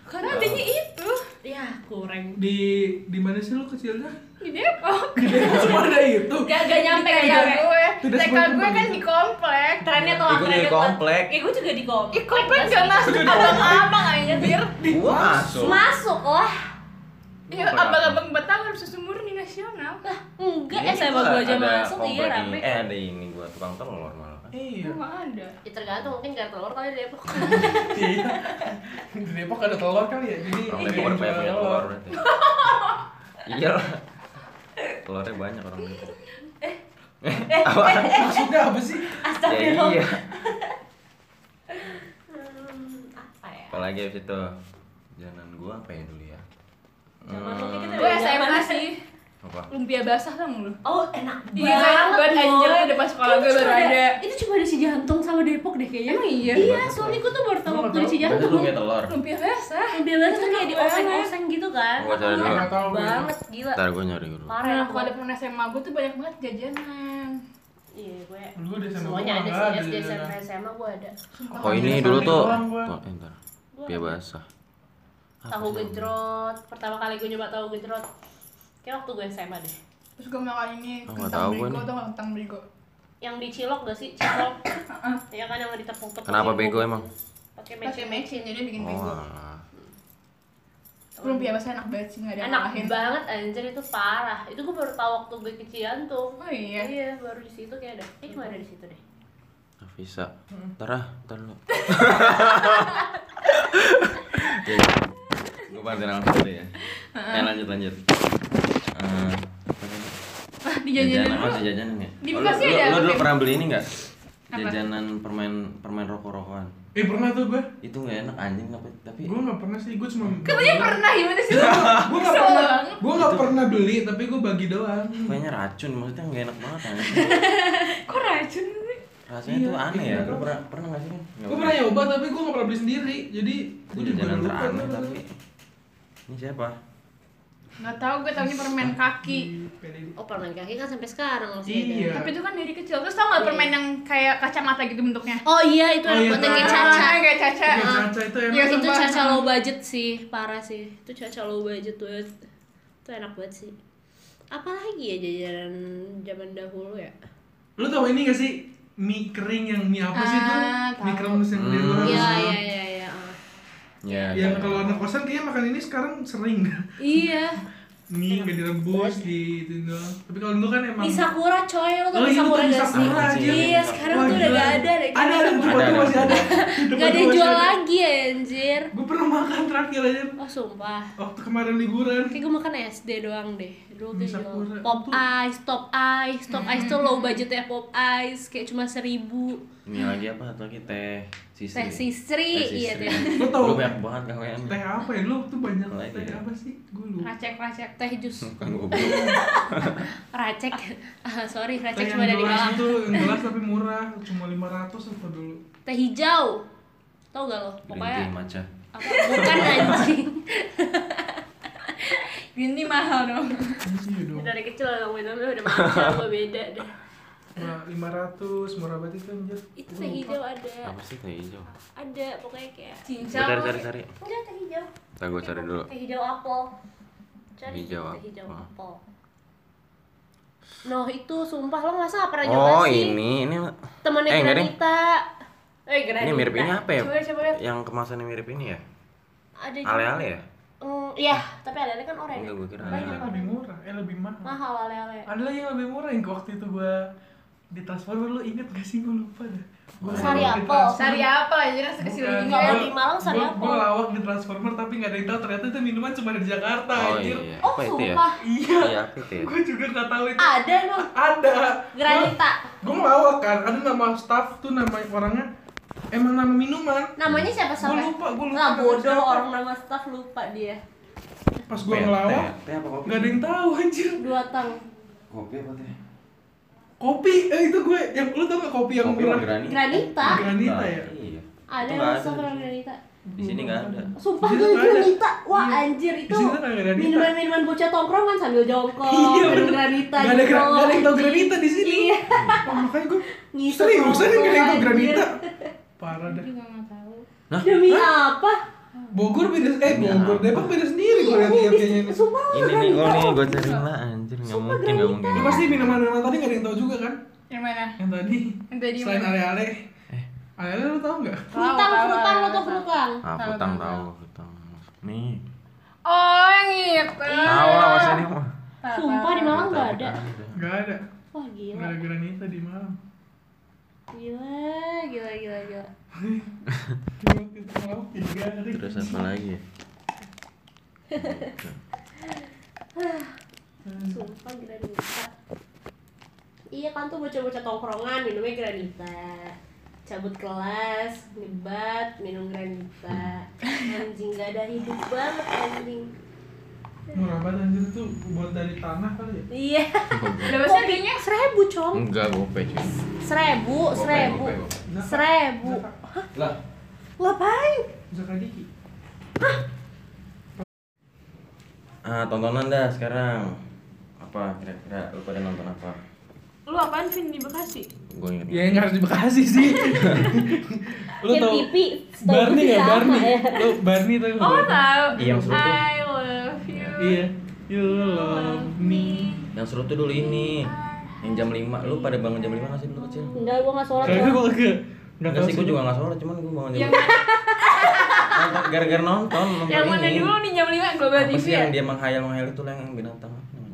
[SPEAKER 3] karena adanya itu
[SPEAKER 6] Ya, kurang
[SPEAKER 5] Di, di mana sih lu kecilnya?
[SPEAKER 3] di Depok
[SPEAKER 5] Di Depok cuma ada itu
[SPEAKER 6] Gak, gak nyampe, gak
[SPEAKER 3] TK
[SPEAKER 6] nyampe
[SPEAKER 3] gue
[SPEAKER 5] Tidak
[SPEAKER 3] TK
[SPEAKER 5] seperti
[SPEAKER 3] gue kan
[SPEAKER 5] itu.
[SPEAKER 3] di komplek
[SPEAKER 6] Trennya Iya, tuh
[SPEAKER 2] Ih,
[SPEAKER 6] lah,
[SPEAKER 2] gue
[SPEAKER 6] trennya
[SPEAKER 2] dari
[SPEAKER 6] tuh.
[SPEAKER 2] komplek.
[SPEAKER 6] Eh, gue juga di
[SPEAKER 3] di
[SPEAKER 6] komplek
[SPEAKER 3] komplek gak masuk abang-abang anjir
[SPEAKER 2] Gua masuk.
[SPEAKER 6] Masuk lah
[SPEAKER 3] ya abang-abang batagor susu murni nasional
[SPEAKER 6] Lah, enggak,
[SPEAKER 2] Ini
[SPEAKER 6] ya sama gue aja
[SPEAKER 2] Iya, ada
[SPEAKER 6] masuk, iya
[SPEAKER 2] komplek
[SPEAKER 6] rame
[SPEAKER 2] ini. Eh ada ini gua tukang telur malah. kan.
[SPEAKER 5] Iya,
[SPEAKER 3] nggak ada
[SPEAKER 6] Ya tergantung, mungkin gak telur kali di Depok
[SPEAKER 5] iya Di Depok ada telur kali ya, jadi
[SPEAKER 2] Orang Depok udah banyak punya telur berarti. Iya lah. Telurnya banyak orang Ya Depok.
[SPEAKER 5] Eh, Maksudnya apa sih?
[SPEAKER 2] Ya iya.
[SPEAKER 6] Hmm, apa ya?
[SPEAKER 2] Apalagi abis itu jalan gua apa ya dulu ya? Hmm.
[SPEAKER 6] Zaman lu kayak kita
[SPEAKER 3] gue
[SPEAKER 6] udah
[SPEAKER 3] SMA
[SPEAKER 6] zaman-
[SPEAKER 2] Apa
[SPEAKER 3] sih
[SPEAKER 2] Hmm, apa?
[SPEAKER 3] lumpia basah kamu lu
[SPEAKER 4] Oh enak
[SPEAKER 3] Iya, enak banget,
[SPEAKER 4] Boy.
[SPEAKER 3] anjir, di depan sekolah
[SPEAKER 4] Kayaknya
[SPEAKER 3] gue
[SPEAKER 4] cuma
[SPEAKER 3] baru ada.
[SPEAKER 4] Itu cuma ada si Jantung sama Depok deh kayaknya.
[SPEAKER 3] Emang iya?
[SPEAKER 4] Iya,
[SPEAKER 2] Bagus,
[SPEAKER 4] suamiku tuh baru tahu
[SPEAKER 5] Gua
[SPEAKER 4] waktu
[SPEAKER 5] nggak
[SPEAKER 4] di
[SPEAKER 6] Ya,
[SPEAKER 2] Berarti
[SPEAKER 4] Cijantung.
[SPEAKER 2] lumpia telur.
[SPEAKER 3] lumpia basah
[SPEAKER 4] Lumpia banget Ah, tuh kayak
[SPEAKER 3] Enak
[SPEAKER 4] dioseng-oseng gitu kan.
[SPEAKER 2] Gua cari dulu.
[SPEAKER 5] Nggak tahu gue.
[SPEAKER 4] Banget gila.
[SPEAKER 2] Ntar gue nyari dulu.
[SPEAKER 4] Parah. ya,
[SPEAKER 3] nah
[SPEAKER 4] enak
[SPEAKER 3] kalau ada
[SPEAKER 4] banget.
[SPEAKER 3] temen SMA gue tuh banyak banget jajanan
[SPEAKER 4] Iya, gue
[SPEAKER 5] Dulu di SMA
[SPEAKER 4] semuanya
[SPEAKER 5] gua
[SPEAKER 4] ada
[SPEAKER 5] nggak
[SPEAKER 4] sih SD
[SPEAKER 5] ada
[SPEAKER 4] SMP
[SPEAKER 5] jajanan.
[SPEAKER 4] SMA gue ada.
[SPEAKER 3] Sumpah,
[SPEAKER 2] Oh
[SPEAKER 5] Makan
[SPEAKER 2] ini
[SPEAKER 5] yang
[SPEAKER 2] dulu
[SPEAKER 5] samping
[SPEAKER 2] tuh.
[SPEAKER 5] doang gua.
[SPEAKER 2] Oh, eh, ntar. Lumpia basah. Apa
[SPEAKER 6] tahu
[SPEAKER 2] sih?
[SPEAKER 6] gejrot pertama kali gue nyoba tahu gejrot kayak waktu gue SMA deh
[SPEAKER 3] terus gue makan ini
[SPEAKER 2] Oh, nggak
[SPEAKER 3] kentang
[SPEAKER 2] tahu gue
[SPEAKER 3] bego
[SPEAKER 2] nih.
[SPEAKER 3] tau nggak kentang bego
[SPEAKER 6] yang dicilok gak sih cilok
[SPEAKER 4] Iya
[SPEAKER 6] ya kan yang ditepuk-tepuk
[SPEAKER 2] Kenapa
[SPEAKER 6] gitu.
[SPEAKER 2] bego emang?
[SPEAKER 6] pakai
[SPEAKER 3] pakai
[SPEAKER 6] mecin
[SPEAKER 3] mecin jadi bikin
[SPEAKER 2] Oh,
[SPEAKER 3] bego
[SPEAKER 2] alah.
[SPEAKER 3] lumpia basah enak banget sih nggak ada yang
[SPEAKER 6] enak
[SPEAKER 3] ngalahin
[SPEAKER 6] banget anjir itu parah itu gue baru tahu waktu gue kecilan tuh
[SPEAKER 3] oh iya
[SPEAKER 6] iya baru di situ kayak ada ini cuma ada di situ deh
[SPEAKER 2] Nafisa. Ntar ah, ntar lu. Gue bantuin langsung deh ya. Eh lanjut lanjut. Eh, apa tadi?
[SPEAKER 3] ah di
[SPEAKER 2] Jajanan
[SPEAKER 3] jajanan
[SPEAKER 2] apa sih jajanan ya?
[SPEAKER 3] Di
[SPEAKER 2] Oh, lu,
[SPEAKER 3] pasti
[SPEAKER 2] lu-
[SPEAKER 3] ada
[SPEAKER 2] lu dulu
[SPEAKER 3] Pem.
[SPEAKER 2] pernah beli ini nggak? Jajanan permen permen rokok-rokokan.
[SPEAKER 5] Eh pernah tuh gue.
[SPEAKER 2] Itu nggak enak anjing tapi tapi
[SPEAKER 5] Gue nggak pernah sih, gue cuma.
[SPEAKER 3] katanya Iya, pernah gimana sih lu
[SPEAKER 5] Gue nggak
[SPEAKER 3] Kesel
[SPEAKER 5] pernah.
[SPEAKER 3] banget.
[SPEAKER 5] Gue nggak pernah beli, tapi gue bagi doang.
[SPEAKER 2] kayaknya racun maksudnya nggak enak banget anjing.
[SPEAKER 3] kok racun sih
[SPEAKER 2] Rasanya
[SPEAKER 5] Iya,
[SPEAKER 2] tuh aneh
[SPEAKER 5] iya,
[SPEAKER 2] ya. Lu
[SPEAKER 5] pernah.
[SPEAKER 2] pernah pernah nggak sih? Kan? Nggak
[SPEAKER 5] Gue pernah nyoba tapi gue nggak pernah beli sendiri. Jadi
[SPEAKER 2] Itu
[SPEAKER 5] gue juga
[SPEAKER 2] jajanan
[SPEAKER 5] lupa.
[SPEAKER 2] teraneh tapi ini siapa?
[SPEAKER 3] nggak tahu gue tahunya permen kaki
[SPEAKER 6] oh permen kaki kan sampai sekarang masih ada.
[SPEAKER 5] Iya.
[SPEAKER 3] tapi itu kan dari kecil terus tau nggak permen yang kayak kacamata gitu bentuknya
[SPEAKER 6] oh iya itu
[SPEAKER 5] Oh,
[SPEAKER 6] ada
[SPEAKER 5] iya,
[SPEAKER 6] konten
[SPEAKER 5] tahu.
[SPEAKER 6] kayak
[SPEAKER 3] Ah,
[SPEAKER 6] caca
[SPEAKER 3] kayak caca
[SPEAKER 5] Iya, Caca itu enak.
[SPEAKER 3] Iya,
[SPEAKER 6] itu
[SPEAKER 3] sumpah.
[SPEAKER 6] caca low budget sih parah sih itu caca low budget banget itu enak banget sih apalagi ya jajanan zaman dahulu ya
[SPEAKER 5] Lu tau ini gak sih? Mie kering yang mie apa sih itu?
[SPEAKER 3] Ah,
[SPEAKER 5] Mie
[SPEAKER 3] tahu.
[SPEAKER 5] kremes yang dia
[SPEAKER 2] Hmm.
[SPEAKER 5] goreng.
[SPEAKER 6] iya iya iya iya ah.
[SPEAKER 2] Ya.
[SPEAKER 5] Yang kalau anak kosan kayaknya makan ini sekarang sering dah.
[SPEAKER 6] iya
[SPEAKER 5] Mie gak direbus di itu doang. Tapi kalau dulu kan emang
[SPEAKER 6] di sakura coy lo
[SPEAKER 5] Oh
[SPEAKER 6] tuh di
[SPEAKER 5] iya, lu tau di
[SPEAKER 6] sakura gak sih?
[SPEAKER 5] Sakura aja.
[SPEAKER 6] iya sekarang
[SPEAKER 5] Wah,
[SPEAKER 6] tuh udah
[SPEAKER 5] gila.
[SPEAKER 6] gak ada deh
[SPEAKER 5] Ada ada di depan
[SPEAKER 2] Ada,
[SPEAKER 5] gue
[SPEAKER 2] ada.
[SPEAKER 5] masih ada.
[SPEAKER 6] gak ada yang jual lagi anjir
[SPEAKER 5] Gue pernah makan terakhir aja
[SPEAKER 6] oh sumpah
[SPEAKER 5] waktu kemarin liburan.
[SPEAKER 6] Kayak gue makan SD doang deh Dulu tuh
[SPEAKER 5] Bisa
[SPEAKER 6] jual
[SPEAKER 5] kurang.
[SPEAKER 6] Pop Ice, Top Ice Top Ice tuh low budget ya Pop Ice Kayak cuma seribu
[SPEAKER 2] Ini lagi apa? Satu lagi teh sisri.
[SPEAKER 6] Teh sisri, iya,
[SPEAKER 2] sisri.
[SPEAKER 6] teh.
[SPEAKER 5] Lu tau-
[SPEAKER 2] Lu banyak banget KW-nya.
[SPEAKER 5] Teh apa ya? Lu tuh banyak
[SPEAKER 2] Lagi
[SPEAKER 5] teh
[SPEAKER 2] ya.
[SPEAKER 5] apa sih? Gue lupa.
[SPEAKER 3] racek racek
[SPEAKER 6] Teh jus
[SPEAKER 2] Bukan goblok.
[SPEAKER 6] Racek Ah, Sorry,
[SPEAKER 5] Teh
[SPEAKER 6] racek
[SPEAKER 5] yang
[SPEAKER 6] cuma dari
[SPEAKER 5] gelas
[SPEAKER 6] Malang
[SPEAKER 5] itu yang gelas tapi murah, cuma 500 apa dulu.
[SPEAKER 6] Teh hijau Tau gak lo?
[SPEAKER 2] Green tea
[SPEAKER 6] Pokoknya
[SPEAKER 2] matcha.
[SPEAKER 6] apa? Bukan anjing
[SPEAKER 3] ini mahal dong
[SPEAKER 5] Ini sih dong.
[SPEAKER 6] Dari kecil udah minumnya udah macam Gue beda dah
[SPEAKER 5] Nah, 500 murah banget itu anjir.
[SPEAKER 6] Itu teh hijau ada
[SPEAKER 2] Apa sih teh hijau?
[SPEAKER 6] Ada pokoknya kayak
[SPEAKER 2] Gua
[SPEAKER 3] cincau
[SPEAKER 2] cari cari cari.
[SPEAKER 6] Enggak teh hijau
[SPEAKER 2] Ntar gue cari dulu.
[SPEAKER 6] Teh hijau apel Cari
[SPEAKER 2] Teh hijau
[SPEAKER 6] teh hijau
[SPEAKER 2] apel.
[SPEAKER 6] apel Noh itu sumpah lo nggak salah pernah nyoba
[SPEAKER 2] Oh
[SPEAKER 6] sih
[SPEAKER 2] ini ini
[SPEAKER 6] temennya
[SPEAKER 2] Eh, enggak deh.
[SPEAKER 6] Granita eh Granita
[SPEAKER 2] ini mirip ini apa ya?
[SPEAKER 6] coba coba lihat
[SPEAKER 2] Yang kemasannya mirip ini ya?
[SPEAKER 6] ada juga.
[SPEAKER 2] Ale-ale ya?
[SPEAKER 6] Mm, iya tapi ale ale kan oranye
[SPEAKER 2] Enggak gue kira
[SPEAKER 5] Ada yang
[SPEAKER 2] ale-ale.
[SPEAKER 5] lebih murah, eh lebih mahal.
[SPEAKER 6] mahal ale ale
[SPEAKER 5] Ada lagi yang lebih murah yang waktu itu gua di transfer lu inget gak sih gua lupa dah. Gua lawak
[SPEAKER 6] Sari
[SPEAKER 5] di
[SPEAKER 6] apel.
[SPEAKER 5] Transformer.
[SPEAKER 3] sari apa aja rasa
[SPEAKER 5] Bukan.
[SPEAKER 3] kasih lu
[SPEAKER 5] Gua-
[SPEAKER 6] Kalau
[SPEAKER 3] ingat
[SPEAKER 6] di Malang sari
[SPEAKER 5] gua-
[SPEAKER 6] apel.
[SPEAKER 5] Gua lawak di Transformer tapi gak ada yang tahu ternyata itu minuman cuma dari Jakarta
[SPEAKER 2] Oh
[SPEAKER 5] anjir.
[SPEAKER 2] iya.
[SPEAKER 6] oh
[SPEAKER 2] Apa itu ya?
[SPEAKER 6] sumpah
[SPEAKER 5] Iya.
[SPEAKER 2] Iya apa itu ya?
[SPEAKER 5] Gua juga gak tahu itu.
[SPEAKER 6] ada loh
[SPEAKER 5] Ada. Gua-
[SPEAKER 6] Granita
[SPEAKER 5] Gua ngelawak kan, ada nama staff tuh nama orangnya emang nama minuman.
[SPEAKER 6] namanya siapa
[SPEAKER 5] Gua
[SPEAKER 6] sampai
[SPEAKER 5] lupa, gua lupa.
[SPEAKER 6] nggak
[SPEAKER 5] nama
[SPEAKER 6] bodoh
[SPEAKER 5] siapa.
[SPEAKER 6] orang nama staff lupa dia
[SPEAKER 5] Pas gua
[SPEAKER 2] Teh,
[SPEAKER 5] ngelawak,
[SPEAKER 2] teh, Teh apa kopi?
[SPEAKER 5] gak ada yang tahu anjir.
[SPEAKER 6] dua tang
[SPEAKER 2] Kopi apa teh?
[SPEAKER 5] Kopi, eh itu gue yang lu tau gak kopi yang
[SPEAKER 2] Kopi
[SPEAKER 5] murah?
[SPEAKER 2] sama granita.
[SPEAKER 6] Granita
[SPEAKER 5] Granita ya.
[SPEAKER 2] Iya.
[SPEAKER 6] ada
[SPEAKER 2] Itu nggak
[SPEAKER 6] nggak
[SPEAKER 2] ada.
[SPEAKER 6] pernah Granita
[SPEAKER 2] Di sini nggak ada.
[SPEAKER 6] sumpah
[SPEAKER 5] Di situ
[SPEAKER 6] gue
[SPEAKER 5] nggak ada.
[SPEAKER 6] Granita wah
[SPEAKER 5] Iya.
[SPEAKER 6] anjir
[SPEAKER 5] Di
[SPEAKER 6] itu
[SPEAKER 5] situ nggak ada Granita.
[SPEAKER 6] minuman minuman bocah tongkrongan sambil jongkok
[SPEAKER 5] Iya,
[SPEAKER 6] minum
[SPEAKER 5] bener.
[SPEAKER 6] Oh, Granita
[SPEAKER 5] Gak ada
[SPEAKER 6] gitu.
[SPEAKER 5] gra- gak ada yang tau granita di sini.
[SPEAKER 6] Iya.
[SPEAKER 5] Oh, makanya gue
[SPEAKER 6] Ngisep
[SPEAKER 5] seriusan yang gak ada yang tau
[SPEAKER 6] anjir.
[SPEAKER 5] granita. Parah dah.
[SPEAKER 3] juga nggak tahu
[SPEAKER 6] demi apa
[SPEAKER 5] Bogor beda, eh
[SPEAKER 2] Iya.
[SPEAKER 5] Bogor Depok beda sendiri gue liat liat kayaknya ini.
[SPEAKER 6] sumpah
[SPEAKER 2] Ini nih, oh nih gue cari lah anjir nggak mungkin nggak mungkin.
[SPEAKER 5] Lu Ya, pasti minuman-minuman tadi gak ada yang tau juga kan?
[SPEAKER 3] yang mana
[SPEAKER 5] Yang tadi,
[SPEAKER 3] Yang tadi
[SPEAKER 5] selain
[SPEAKER 3] mana?
[SPEAKER 5] ale-ale.
[SPEAKER 2] Eh.
[SPEAKER 5] Ale-ale lu tau gak?
[SPEAKER 6] frutang
[SPEAKER 3] Tahu, tahu,
[SPEAKER 6] frutang lo
[SPEAKER 3] tahu,
[SPEAKER 6] tuh frutang
[SPEAKER 2] Ah, hutang tahu, hutang. Nih,
[SPEAKER 3] oh yang itu
[SPEAKER 2] tahu lah masa ini mah.
[SPEAKER 6] sumpah di Malang nggak ada
[SPEAKER 5] Gak ada.
[SPEAKER 6] wah
[SPEAKER 5] Gak
[SPEAKER 6] gila
[SPEAKER 5] ada granita di malam.
[SPEAKER 6] gila gila gila gila
[SPEAKER 5] Cuma kita mau tiga hari.
[SPEAKER 2] Terus apa lagi? ya?
[SPEAKER 6] sumpah granita iya kan tuh bocah-bocah tongkrongan minumnya granita cabut kelas nyebat minum granita anjing gak ada hidup banget anjing
[SPEAKER 5] murah banget anjir itu buat dari tanah kali ya
[SPEAKER 6] Iya.
[SPEAKER 3] Berapa sih
[SPEAKER 6] Kopinya
[SPEAKER 3] harganya?
[SPEAKER 6] seribu com.
[SPEAKER 2] Enggak, gope cuy.
[SPEAKER 6] Seribu,
[SPEAKER 2] Gope,
[SPEAKER 6] seribu,
[SPEAKER 2] gope, gope.
[SPEAKER 5] Zakat.
[SPEAKER 6] seribu.
[SPEAKER 5] Zakat.
[SPEAKER 2] Lah,
[SPEAKER 6] Ngapain?
[SPEAKER 5] Zakat dikit
[SPEAKER 2] ah, tontonan dah sekarang. Apa kira-kira lu pada nonton apa?
[SPEAKER 3] Lu apaan Vin di Bekasi?
[SPEAKER 2] Gue ingat.
[SPEAKER 5] ya yang harus di Bekasi sih lu
[SPEAKER 6] Yang
[SPEAKER 5] tau
[SPEAKER 6] pipi, setahu
[SPEAKER 5] Barney
[SPEAKER 6] gue
[SPEAKER 5] ya
[SPEAKER 6] sama
[SPEAKER 5] Barney
[SPEAKER 6] ya.
[SPEAKER 5] lu Barney tau nggak?
[SPEAKER 3] Oh tahu.
[SPEAKER 2] Iya, yang seru tuh.
[SPEAKER 3] I love you.
[SPEAKER 5] iya you love me
[SPEAKER 2] Yang seru tuh dulu ini. Yang jam 5, lu pada bangun jam 5 gak sih dulu kecil?
[SPEAKER 6] Enggak, gua nggak sholat.
[SPEAKER 5] kayaknya
[SPEAKER 6] Cok.
[SPEAKER 5] gue agak nggak
[SPEAKER 2] Enggak
[SPEAKER 5] tahu
[SPEAKER 2] sih,
[SPEAKER 5] sih
[SPEAKER 2] gue juga gak sholat, cuman gue bangun jam
[SPEAKER 3] Yang
[SPEAKER 2] 5 Nonton, gara-gara nonton, nonton
[SPEAKER 3] yang mana
[SPEAKER 2] ini
[SPEAKER 3] dulu nih jam 5 Global
[SPEAKER 2] Apa
[SPEAKER 3] TV
[SPEAKER 2] sih
[SPEAKER 3] ya?
[SPEAKER 2] yang dia menghayal-menghayal itu lah yang binatang apa namanya?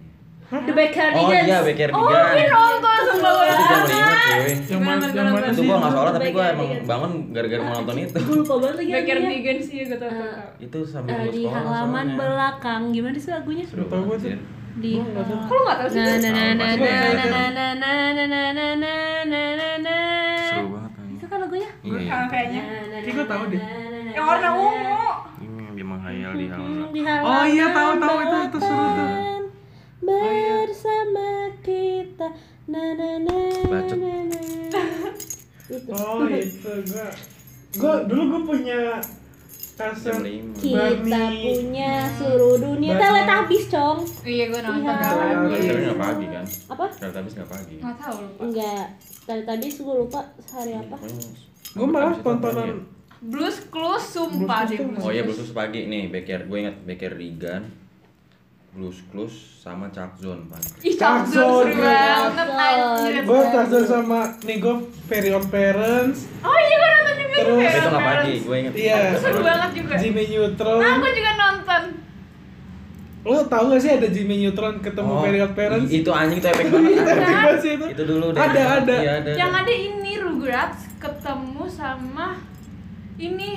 [SPEAKER 6] The Back
[SPEAKER 2] Oh
[SPEAKER 6] Cardigans.
[SPEAKER 2] iya, Becker
[SPEAKER 3] Oh, Vin
[SPEAKER 2] Bigan
[SPEAKER 3] nonton sumpah gue.
[SPEAKER 2] Itu jam 5 cuy
[SPEAKER 5] yang mana
[SPEAKER 3] Bener,
[SPEAKER 5] yang
[SPEAKER 3] bener,
[SPEAKER 5] mana
[SPEAKER 2] Itu
[SPEAKER 5] sih
[SPEAKER 2] gue gak sholat, tapi
[SPEAKER 6] Becker
[SPEAKER 2] gue emang
[SPEAKER 6] Bigan.
[SPEAKER 2] bangun gara-gara mau nonton itu
[SPEAKER 6] Gue lupa banget lagi
[SPEAKER 3] Baker
[SPEAKER 6] lagunya.
[SPEAKER 3] vegan sih, gue tau tau.
[SPEAKER 2] Itu sambil
[SPEAKER 6] Eh,
[SPEAKER 2] gue
[SPEAKER 6] di
[SPEAKER 2] sekolah
[SPEAKER 6] halaman
[SPEAKER 2] Oh, soalnya.
[SPEAKER 6] belakang gimana sih lagunya
[SPEAKER 2] Seru
[SPEAKER 5] Gak tau
[SPEAKER 2] banget,
[SPEAKER 5] gua tuh.
[SPEAKER 2] Jin.
[SPEAKER 6] di
[SPEAKER 3] Kok lu gak tau sih?
[SPEAKER 6] na na na na
[SPEAKER 2] Pasti
[SPEAKER 6] na
[SPEAKER 2] ada.
[SPEAKER 6] na na na na na na na na na na
[SPEAKER 2] Seru banget anjing.
[SPEAKER 6] itu kan lagunya
[SPEAKER 2] Iya, iya.
[SPEAKER 3] Sama Ah, kayaknya.
[SPEAKER 5] Kayaknya gua tahu deh.
[SPEAKER 3] Yang warna ungu.
[SPEAKER 2] Ini iya. yang dia menghayal di halaman belakang.
[SPEAKER 6] Di
[SPEAKER 5] Oh iya, tahu, tahu, itu, itu seru tuh.
[SPEAKER 6] halaman bersama kita na na na
[SPEAKER 2] Bacot.
[SPEAKER 6] na na itu
[SPEAKER 5] oh itu gue gue dulu gue punya
[SPEAKER 2] Jam
[SPEAKER 5] kaset
[SPEAKER 2] 5
[SPEAKER 6] kita
[SPEAKER 5] Barney.
[SPEAKER 6] punya seluruh dunia
[SPEAKER 5] Barney.
[SPEAKER 6] Teletubbies cong
[SPEAKER 3] Iya, gue nonton.
[SPEAKER 6] Iya.
[SPEAKER 2] Tapi nggak pagi kan?
[SPEAKER 6] apa
[SPEAKER 2] Kalau habis nggak pagi.
[SPEAKER 3] Gak tau lupa.
[SPEAKER 6] enggak Teletubbies gue lupa hari apa
[SPEAKER 5] gue malah tontonan
[SPEAKER 3] Blues Clues sumpah sih.
[SPEAKER 5] Blues Clues
[SPEAKER 2] iya.
[SPEAKER 5] tuh.
[SPEAKER 2] Oh iya, Blues Clues pagi nih, Becker. Gue ingat Becker Rigan, Blues Clues sama Chuck Zone pagi.
[SPEAKER 3] Ih, Chuck Zone seru
[SPEAKER 5] Chuck Zone.
[SPEAKER 3] banget anjir.
[SPEAKER 5] gue kaset sama nih gue Very Odd Parents
[SPEAKER 3] Oh iya, gue nonton juga tuh,
[SPEAKER 5] Terus-
[SPEAKER 2] Tapi itu
[SPEAKER 3] Feral
[SPEAKER 2] nggak pagi,
[SPEAKER 3] Parents.
[SPEAKER 2] gue ingat.
[SPEAKER 5] Iya.
[SPEAKER 3] Itu Seru banget juga.
[SPEAKER 5] Jimmy
[SPEAKER 3] Nah,
[SPEAKER 5] Neutron
[SPEAKER 3] gue juga nonton.
[SPEAKER 5] lo tau gak sih ada Jimmy Neutron ketemu
[SPEAKER 2] Oh,
[SPEAKER 5] Very Odd Parents
[SPEAKER 2] i- Itu anjing itu epic banget.
[SPEAKER 5] Itu epic banget sih itu.
[SPEAKER 2] Itu dulu deh.
[SPEAKER 5] Ada, ada.
[SPEAKER 2] Iya, ada.
[SPEAKER 3] Yang
[SPEAKER 2] ada.
[SPEAKER 3] ada ini Rugrats ketemu sama ini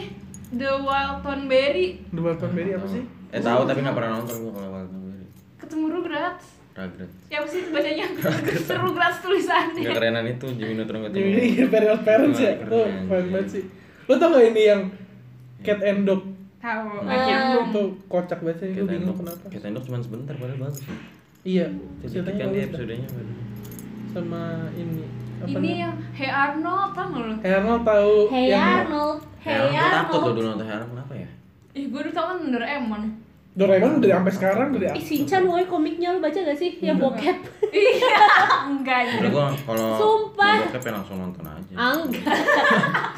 [SPEAKER 3] The Walton Berry
[SPEAKER 5] The Walton Berry Iya, apa sih?
[SPEAKER 2] Eh tahu tapi nggak pernah nonton gue kalau Walton Berry.
[SPEAKER 3] ketemu Rugrats.
[SPEAKER 2] Ragret.
[SPEAKER 3] Ya apa sih itu bacanya? Rugrats tulisannya.
[SPEAKER 5] Iya.
[SPEAKER 2] Nggak kerenan itu Jimmy Neutron ketemu.
[SPEAKER 5] Ini Very Odd Iya, Parents ya?
[SPEAKER 2] Keren,
[SPEAKER 5] Tuh,
[SPEAKER 2] keren.
[SPEAKER 5] keren banget sih Lo tau gak ini yang Cat and Dog? Iya,
[SPEAKER 3] Tahu.
[SPEAKER 5] Itu kocak banget sih, gue
[SPEAKER 2] Kita endok,
[SPEAKER 5] bingung kenapa
[SPEAKER 2] kita endok cuma sebentar padahal bagus. ya.
[SPEAKER 5] Iya,
[SPEAKER 2] Sedikit kan di
[SPEAKER 5] ceritanya bagus dah.
[SPEAKER 2] episodenya baru.
[SPEAKER 5] Sama ini
[SPEAKER 3] Ini
[SPEAKER 5] apa namanya?
[SPEAKER 3] yang Hey Arnold apa nggak lu?
[SPEAKER 5] Arnold tahu
[SPEAKER 6] Hey
[SPEAKER 5] yang
[SPEAKER 6] Arnold
[SPEAKER 2] Heran,
[SPEAKER 6] Hey ya,
[SPEAKER 2] gue takut lo
[SPEAKER 6] Arnold
[SPEAKER 2] dulu nonton Heran kenapa ya?
[SPEAKER 3] Ih, gue dulu tau kan Doraemon.
[SPEAKER 5] Doraemon udah sampai sekarang udah
[SPEAKER 6] Ih, Shinchan woy komiknya lu baca gak sih? Yang bokep
[SPEAKER 3] Iya, enggak
[SPEAKER 2] Udah
[SPEAKER 3] anjir.
[SPEAKER 2] gua kalau
[SPEAKER 6] Sumpah.
[SPEAKER 2] mau bokep ya langsung nonton aja.
[SPEAKER 6] Angga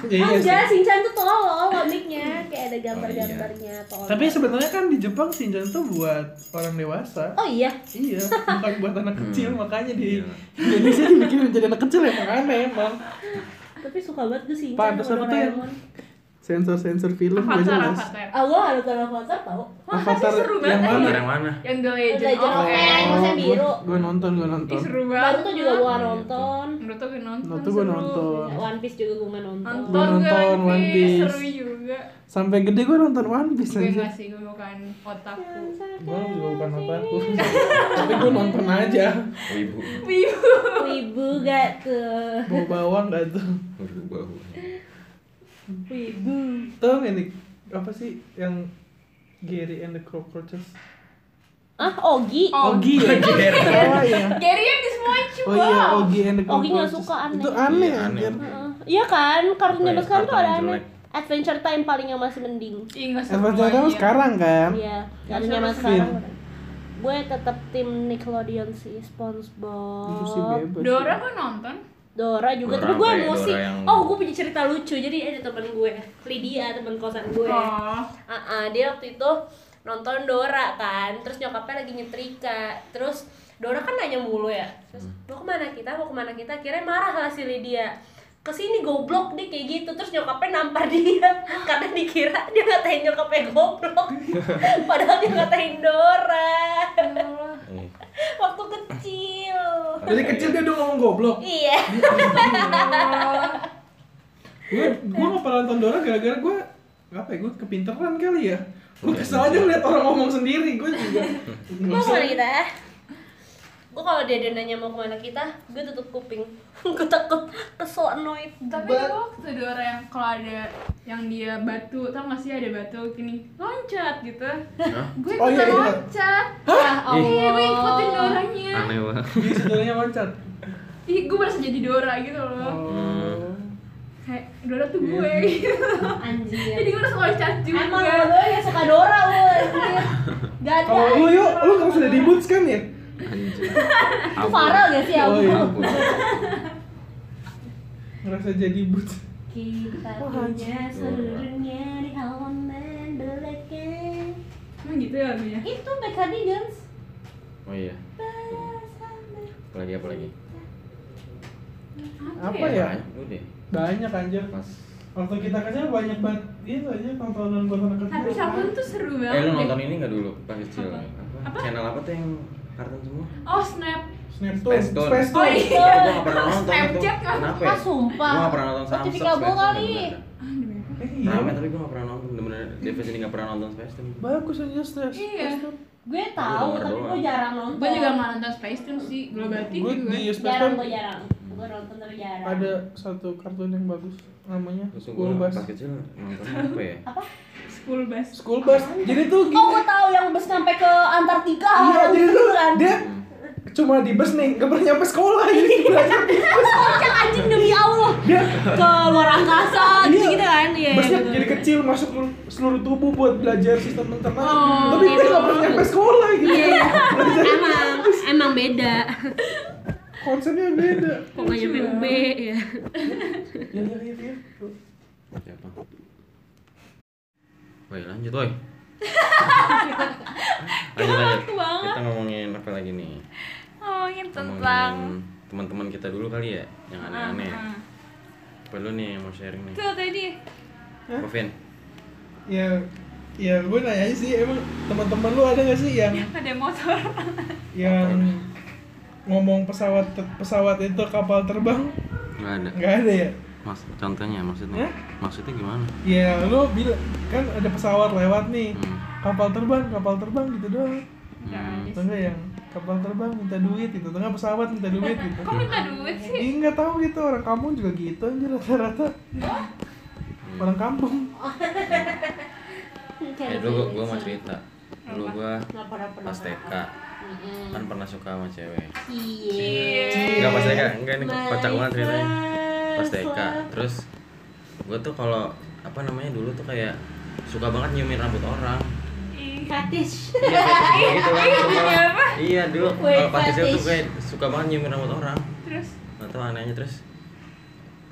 [SPEAKER 5] Ya, iya sih. Oh, iya.
[SPEAKER 6] Angga, Shinchan tuh tolol komiknya Kayak ada gambar-gambarnya tolol
[SPEAKER 5] Tapi sebenarnya kan di Jepang Shinjan tuh buat orang dewasa.
[SPEAKER 6] Oh iya
[SPEAKER 5] Iya, bukan buat anak kecil makanya di
[SPEAKER 2] Iya.
[SPEAKER 5] Indonesia dibikin menjadi anak kecil emang aneh emang.
[SPEAKER 6] Tapi suka banget gue Shinchan
[SPEAKER 5] Pantes apa
[SPEAKER 6] sama
[SPEAKER 5] tuh ya? yang
[SPEAKER 6] Doraemon.
[SPEAKER 5] sensor-sensor film gua
[SPEAKER 3] Avatar,
[SPEAKER 5] jelas.
[SPEAKER 3] Avatar.
[SPEAKER 6] Ah, gua ada tanda avatar tau
[SPEAKER 5] Avatar
[SPEAKER 3] seru banget
[SPEAKER 5] yang
[SPEAKER 2] Nonton
[SPEAKER 5] mana?
[SPEAKER 2] yang mana?
[SPEAKER 3] Yang The
[SPEAKER 6] Legend
[SPEAKER 3] Legend of
[SPEAKER 6] of
[SPEAKER 3] Aang.
[SPEAKER 6] Aang. Yang
[SPEAKER 5] gua-
[SPEAKER 6] Eh, biru.
[SPEAKER 5] gua nonton, gua nonton.
[SPEAKER 3] Ih, seru
[SPEAKER 6] Baru
[SPEAKER 3] banget.
[SPEAKER 6] tuh juga
[SPEAKER 5] Iya,
[SPEAKER 6] gua nonton
[SPEAKER 3] Menurut tuh gue nonton.
[SPEAKER 5] Nonton gua
[SPEAKER 3] seru.
[SPEAKER 5] nonton.
[SPEAKER 6] One Piece juga gua gak nonton
[SPEAKER 3] Nonton gue
[SPEAKER 5] nonton One
[SPEAKER 3] One
[SPEAKER 5] Piece.
[SPEAKER 3] Piece. Seru juga.
[SPEAKER 5] Sampai gede gua nonton One Piece
[SPEAKER 3] Gue
[SPEAKER 5] aja.
[SPEAKER 3] nggak sih, gue bukan otaku.
[SPEAKER 5] Gua juga bukan apa aku. Tapi gua nonton aja.
[SPEAKER 2] Wibu.
[SPEAKER 3] Wibu.
[SPEAKER 6] Wibu gak tuh
[SPEAKER 5] Bawa bawang gak tuh.
[SPEAKER 2] Wibu bahu.
[SPEAKER 6] Wibu
[SPEAKER 5] Tau gak nih apa sih yang Gary and the Cockroaches?
[SPEAKER 6] Ah, Ogi
[SPEAKER 5] Ogi ya. Oh iya.
[SPEAKER 3] Gary yang di Smoichi,
[SPEAKER 5] Oh iya,
[SPEAKER 3] wow.
[SPEAKER 5] Ogi and the
[SPEAKER 6] Ogi
[SPEAKER 5] Cockroaches.
[SPEAKER 6] gak suka, aneh.
[SPEAKER 5] Itu aneh
[SPEAKER 2] Iya, aneh.
[SPEAKER 5] anjir.
[SPEAKER 6] Heeh. Iya kan,
[SPEAKER 5] Oh,
[SPEAKER 6] kartun
[SPEAKER 2] Apa
[SPEAKER 6] zaman
[SPEAKER 2] ya,
[SPEAKER 6] sekarang tuh
[SPEAKER 2] kartun
[SPEAKER 6] ada
[SPEAKER 2] yang
[SPEAKER 6] aneh
[SPEAKER 2] jelek?
[SPEAKER 6] Adventure Time paling yang masih mending
[SPEAKER 3] Ih, nggak seru
[SPEAKER 5] Adventure Time
[SPEAKER 3] banget.
[SPEAKER 5] sekarang kan?
[SPEAKER 6] Iya,
[SPEAKER 5] Yang
[SPEAKER 6] kartun zaman
[SPEAKER 5] seru
[SPEAKER 6] sekarang
[SPEAKER 5] film.
[SPEAKER 6] Gue tetap tim Nickelodeon sih,
[SPEAKER 5] Itu sih
[SPEAKER 6] Spongebob
[SPEAKER 5] bebas.
[SPEAKER 3] Dora gue nonton.
[SPEAKER 6] Dora
[SPEAKER 2] Dora
[SPEAKER 6] juga, tapi gue
[SPEAKER 2] apa ya?
[SPEAKER 6] emosi
[SPEAKER 2] Dora yang-
[SPEAKER 6] Oh, gue punya cerita lucu, jadi ada temen gue Lydia, temen kosan gue
[SPEAKER 3] Oh.
[SPEAKER 6] Ah, ah, dia waktu itu nonton Dora kan, terus nyokapnya lagi nyetrika, terus Dora kan nanya mulu ya, terus
[SPEAKER 2] Hmm.
[SPEAKER 6] mau kemana kita, mau kemana kita, akhirnya marah lah si Lydia kesini goblok dia kayak gitu terus nyokapnya nampar dia karena dikira dia ngatain nyokapnya goblok padahal dia ngatain Dora
[SPEAKER 2] Iya.
[SPEAKER 6] waktu kecil
[SPEAKER 5] Dari kecil dia udah ngomong goblok.
[SPEAKER 6] iya
[SPEAKER 5] Gue gue nggak pernah nonton Dora gara-gara gue apa ya? Gue kepinteran kali ya. Gue kesel aja ngeliat orang ngomong sendiri. Gue juga. nggak
[SPEAKER 6] mau
[SPEAKER 5] bisa.
[SPEAKER 6] kemana kita
[SPEAKER 7] Gue ya. kalau dia ada nanya mau kemana kita, gue tutup kuping. gue takut kesel annoyed.
[SPEAKER 3] tapi ada waktu ada orang yang kalau ada yang dia batu tau gak sih ada batu gini loncat gitu gue oh,
[SPEAKER 5] Oh, iya, iya.
[SPEAKER 3] loncat ya
[SPEAKER 2] Ih.
[SPEAKER 3] Allah gue ikutin doranya
[SPEAKER 2] aneh banget
[SPEAKER 5] Jadi sebenarnya loncat.
[SPEAKER 3] ih gue merasa jadi Dora gitu loh
[SPEAKER 5] Oh. Iya,
[SPEAKER 3] kayak Dora tuh gue gitu. jadi
[SPEAKER 6] Anjir.
[SPEAKER 3] gue harus loncat juga
[SPEAKER 6] Emang lo yang suka Dora lo anjir. Gak ada.
[SPEAKER 5] Kalau lu yuk, lu kan sudah di boots kan ya?
[SPEAKER 2] anjir
[SPEAKER 6] Itu Farel gak sih
[SPEAKER 5] Oh
[SPEAKER 6] Abu?
[SPEAKER 5] iya.
[SPEAKER 2] Ampun.
[SPEAKER 5] Ngerasa jadi boots.
[SPEAKER 6] Kita
[SPEAKER 5] Iya.
[SPEAKER 6] punya seluruhnya di halaman belakang.
[SPEAKER 3] emang gitu ya lagunya
[SPEAKER 6] Itu Mekani Guns.
[SPEAKER 2] oh iya apalagi apalagi
[SPEAKER 5] Apa
[SPEAKER 3] ya?
[SPEAKER 5] ya?
[SPEAKER 2] Banyak lu deh
[SPEAKER 5] Banyak anjir.
[SPEAKER 2] pas
[SPEAKER 5] Waktu kita kecil banyak banget itu aja tontonan buat anak kecil.
[SPEAKER 3] tapi Shalom tuh seru
[SPEAKER 2] eh lu
[SPEAKER 3] banget
[SPEAKER 2] nonton
[SPEAKER 3] deh.
[SPEAKER 2] ini nggak dulu pas kecil
[SPEAKER 6] Apa?
[SPEAKER 3] Apa?
[SPEAKER 2] channel apa tuh yang kartun semua
[SPEAKER 3] oh snap
[SPEAKER 5] Snapstone,
[SPEAKER 2] Space Tune.
[SPEAKER 5] Space
[SPEAKER 3] oh
[SPEAKER 5] Tune.
[SPEAKER 3] iya
[SPEAKER 2] Gua nggak pernah nonton itu.
[SPEAKER 3] Snapchat kan?
[SPEAKER 2] Kenapa ya?
[SPEAKER 6] Ah sumpah.
[SPEAKER 2] Gua nggak pernah nonton Samsung.
[SPEAKER 6] Notifikasi kabel kali.
[SPEAKER 5] Eh, iya.
[SPEAKER 2] Rame tapi gua nggak pernah nonton. Bener-bener Devis ini nggak pernah nonton Space Tune.
[SPEAKER 5] Bagus aja Snap.
[SPEAKER 3] Iya.
[SPEAKER 6] Gue tahu
[SPEAKER 2] denger
[SPEAKER 6] tapi
[SPEAKER 2] doang.
[SPEAKER 6] gue jarang nonton.
[SPEAKER 3] gue juga nggak nonton Space Tune sih global TV
[SPEAKER 5] Gue di
[SPEAKER 3] gue
[SPEAKER 5] Space
[SPEAKER 6] Jarang
[SPEAKER 5] Tune
[SPEAKER 6] gue jarang. Gue nonton tapi jarang.
[SPEAKER 5] ada satu kartun yang bagus namanya
[SPEAKER 2] Terus
[SPEAKER 5] School
[SPEAKER 2] gua
[SPEAKER 5] Bus.
[SPEAKER 2] pas kecil nonton apa ya?
[SPEAKER 3] school bus
[SPEAKER 5] School Bus. Jadi tuh gitu.
[SPEAKER 6] Oh,
[SPEAKER 5] gini.
[SPEAKER 6] gue tahu yang bus sampai ke Antartika.
[SPEAKER 5] Iya, jadi tuh
[SPEAKER 6] Kan?
[SPEAKER 5] dia cuma di bus nih, gak pernah nyampe sekolah jadi belajar di bus.
[SPEAKER 6] Kocak anjing demi Allah.
[SPEAKER 5] Dia
[SPEAKER 6] Ke luar angkasa gitu, gitu kan. Iya.
[SPEAKER 5] busnya
[SPEAKER 6] iya,
[SPEAKER 5] jadi
[SPEAKER 6] gitu.
[SPEAKER 5] kecil masuk seluruh- seluruh tubuh buat belajar sistem internal.
[SPEAKER 3] Oh,
[SPEAKER 6] iya,
[SPEAKER 5] Tapi dia
[SPEAKER 7] gitu.
[SPEAKER 5] gak pernah nyampe sekolah gitu.
[SPEAKER 7] emang emang beda.
[SPEAKER 5] Konsepnya beda.
[SPEAKER 7] Pokoknya B ya.
[SPEAKER 5] Ya ya ya. ya.
[SPEAKER 2] Siapa? Woi lanjut woi. lanjut lanjut. Kita ngomongin apa lagi nih?
[SPEAKER 3] ngomongin tentang
[SPEAKER 2] Ngomongin teman-teman kita dulu kali ya yang aneh-aneh.
[SPEAKER 3] Ah, ah.
[SPEAKER 2] Perlu nih yang mau sharing nih.
[SPEAKER 3] tuh tadi
[SPEAKER 2] Kevin.
[SPEAKER 5] Ya ya gue nanya aja sih emang teman-teman lu ada gak sih yang
[SPEAKER 6] Iya.
[SPEAKER 3] ada motor
[SPEAKER 5] yang ngomong pesawat pesawat itu kapal terbang
[SPEAKER 2] Nggak ada.
[SPEAKER 5] nggak ada ya
[SPEAKER 2] Mas, contohnya maksudnya?
[SPEAKER 5] Hah?
[SPEAKER 2] Maksudnya gimana?
[SPEAKER 5] ya lu bilang kan ada pesawat lewat nih
[SPEAKER 2] Hmm.
[SPEAKER 5] kapal terbang kapal terbang gitu doang
[SPEAKER 2] Hmm.
[SPEAKER 5] atau enggak yang kapal terbang minta duit gitu atau enggak pesawat minta duit gitu
[SPEAKER 3] kok minta duit sih
[SPEAKER 5] Ih, nggak tahu gitu orang kampung juga gitu aja rata-rata orang kampung
[SPEAKER 2] Eh dulu gua, gua mau cerita. Dulu gua pas TK kan pernah suka sama cewek. Enggak pas TK, enggak ini kocak banget ceritanya. Pas TK, terus gua tuh kalau apa namanya dulu tuh kayak suka banget nyiumin rambut orang.
[SPEAKER 6] Fetish.
[SPEAKER 2] Iya, kayak gitu kan. suka. Iya, dulu
[SPEAKER 6] Wait,
[SPEAKER 2] kalau pas kecil tuh
[SPEAKER 6] fetish.
[SPEAKER 2] gue suka banget nyiumin rambut orang.
[SPEAKER 3] terus
[SPEAKER 2] Gak tau anehnya terus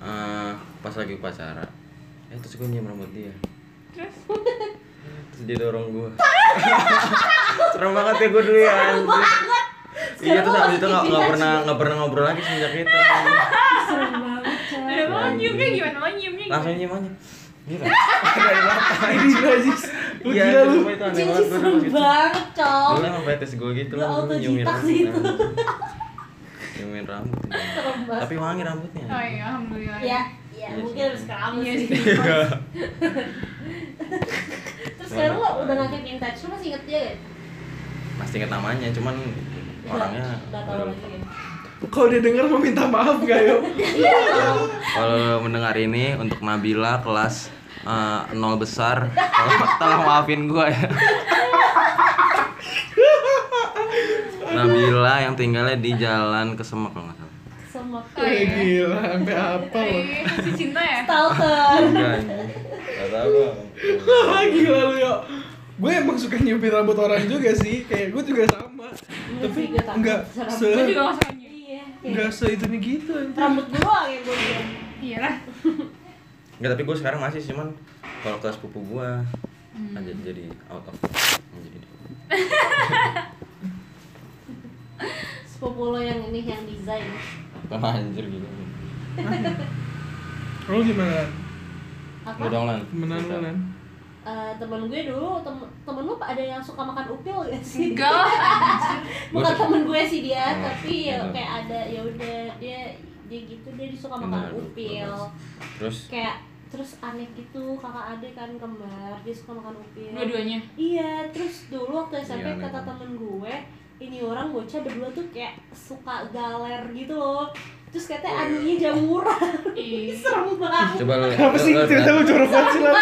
[SPEAKER 2] eh, pas lagi upacara. Eh terus gue nyium rambut dia.
[SPEAKER 3] terus
[SPEAKER 2] Terus dia dorong gue Serem banget ya gue dulu ya anjir. Iya terus abis itu gak, nggak pernah nggak pernah ngobrol lagi semenjak itu
[SPEAKER 6] Serem banget. coy.
[SPEAKER 3] ada lo nyiumnya gimana lo nyiumnya
[SPEAKER 2] Langsung
[SPEAKER 3] gimana
[SPEAKER 2] nyium aja Gila
[SPEAKER 5] ini gila sih lu
[SPEAKER 2] Iya
[SPEAKER 5] gila lu
[SPEAKER 2] sumpah itu aneh
[SPEAKER 6] Cici
[SPEAKER 2] banget gitu. gue
[SPEAKER 6] serem banget, coy.
[SPEAKER 2] Dulu emang fetis gue gitu
[SPEAKER 6] Lu
[SPEAKER 2] lah
[SPEAKER 6] Iya. auto
[SPEAKER 2] gua nyiumin
[SPEAKER 6] jitak
[SPEAKER 2] rambut
[SPEAKER 6] sih itu.
[SPEAKER 2] Nyiumin rambut
[SPEAKER 6] Serem banget.
[SPEAKER 2] Tapi wangi rambutnya
[SPEAKER 3] oh iya alhamdulillah
[SPEAKER 6] Ya, ya
[SPEAKER 2] Iya
[SPEAKER 6] mungkin
[SPEAKER 2] sih.
[SPEAKER 6] harus keramas
[SPEAKER 3] Iya
[SPEAKER 6] sih.
[SPEAKER 3] sih.
[SPEAKER 6] Terus sekarang lo udah nggak keep in touch, lo masih inget dia gak?
[SPEAKER 2] Masih inget namanya cuman orangnya
[SPEAKER 6] nggak tahu lagi. ya?
[SPEAKER 5] kalau dia dengar mau minta maaf gak yo
[SPEAKER 2] Kalau lo mendengar ini untuk Nabila kelas eh, nol besar tolong, tolong maafin gue ya Nabila yang tinggalnya di jalan kesemek kalau nggak salah
[SPEAKER 6] Sama
[SPEAKER 3] Oh,
[SPEAKER 5] Eh,
[SPEAKER 3] iya.
[SPEAKER 5] gila sampai apa lu
[SPEAKER 3] Eh, masih cinta ya
[SPEAKER 6] stalker.
[SPEAKER 2] Enggak anjing. Nggak tahu gua.
[SPEAKER 5] Wah, gila lu yo gue emang suka nyupir rambut orang juga sih kayak gue juga sama
[SPEAKER 6] Iya
[SPEAKER 5] tapi
[SPEAKER 6] sih, gue takut
[SPEAKER 5] nggak
[SPEAKER 6] serem.
[SPEAKER 5] se
[SPEAKER 3] gue juga nggak suka nyium
[SPEAKER 6] Iya.
[SPEAKER 5] nggak se itu nih gitu anjir.
[SPEAKER 6] Rambut gue doang yang gue bilang.
[SPEAKER 3] iya lah
[SPEAKER 2] Nggak, tapi gue sekarang masih cuman kalau kelas pupu gue
[SPEAKER 6] Hmm.
[SPEAKER 2] aja jadi out of jadi
[SPEAKER 6] Sepupu lo yang ini yang desain.
[SPEAKER 2] Wah, anjir gitu
[SPEAKER 5] lu gimana
[SPEAKER 6] Apa?
[SPEAKER 2] Udah dong lan
[SPEAKER 5] temenan lu
[SPEAKER 2] Iya.
[SPEAKER 5] lan
[SPEAKER 6] Eh, temen gue dulu tem temen lu ada yang suka makan upil gak sih
[SPEAKER 3] enggak lah
[SPEAKER 6] bukan temen gue sih dia
[SPEAKER 2] Oh,
[SPEAKER 6] tapi ya
[SPEAKER 2] gitu.
[SPEAKER 6] kayak ada ya udah dia dia gitu dia suka makan upil
[SPEAKER 2] Terus
[SPEAKER 6] kayak terus aneh gitu kakak adik kan kembar dia suka makan upil
[SPEAKER 3] dua-duanya
[SPEAKER 6] iya terus dulu waktu
[SPEAKER 2] Iya,
[SPEAKER 6] SMP
[SPEAKER 2] aneh
[SPEAKER 6] kata
[SPEAKER 2] banget.
[SPEAKER 6] temen gue ini orang bocah berdua tuh kayak suka galer gitu loh terus katanya anunya jam murah
[SPEAKER 3] Iya.
[SPEAKER 6] serem banget
[SPEAKER 2] Coba ya. lo.
[SPEAKER 5] Kenapa sih cerita
[SPEAKER 2] iya.
[SPEAKER 5] lu jorok banget sih lah?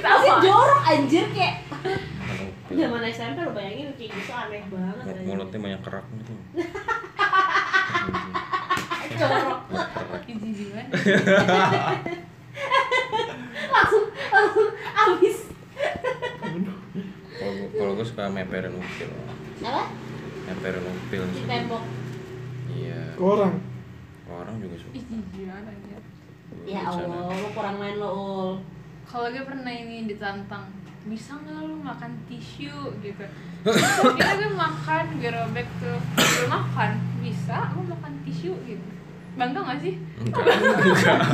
[SPEAKER 6] pasti jorok anjir kayak zaman SMP lo bayangin kayak gitu aneh banget anjir.
[SPEAKER 2] Mulutnya banyak kerak gitu.
[SPEAKER 6] jorok
[SPEAKER 3] Izin jiwa.
[SPEAKER 6] langsung langsung abis
[SPEAKER 2] Kalau gua- kalau gue suka meperin upil,
[SPEAKER 6] apa
[SPEAKER 2] meperin upil.
[SPEAKER 6] di tembok
[SPEAKER 2] Iya.
[SPEAKER 5] Orang.
[SPEAKER 2] Orang juga suka.
[SPEAKER 3] Izin jiwa aja.
[SPEAKER 6] ya Allah lo kurang main lo Ul.
[SPEAKER 3] Kalau gue pernah ini ditantang bisa nggak lu makan tisu gitu Kira gue makan, gue robek tuh Gue makan, bisa, lu makan tisu gitu Bangga gak sih?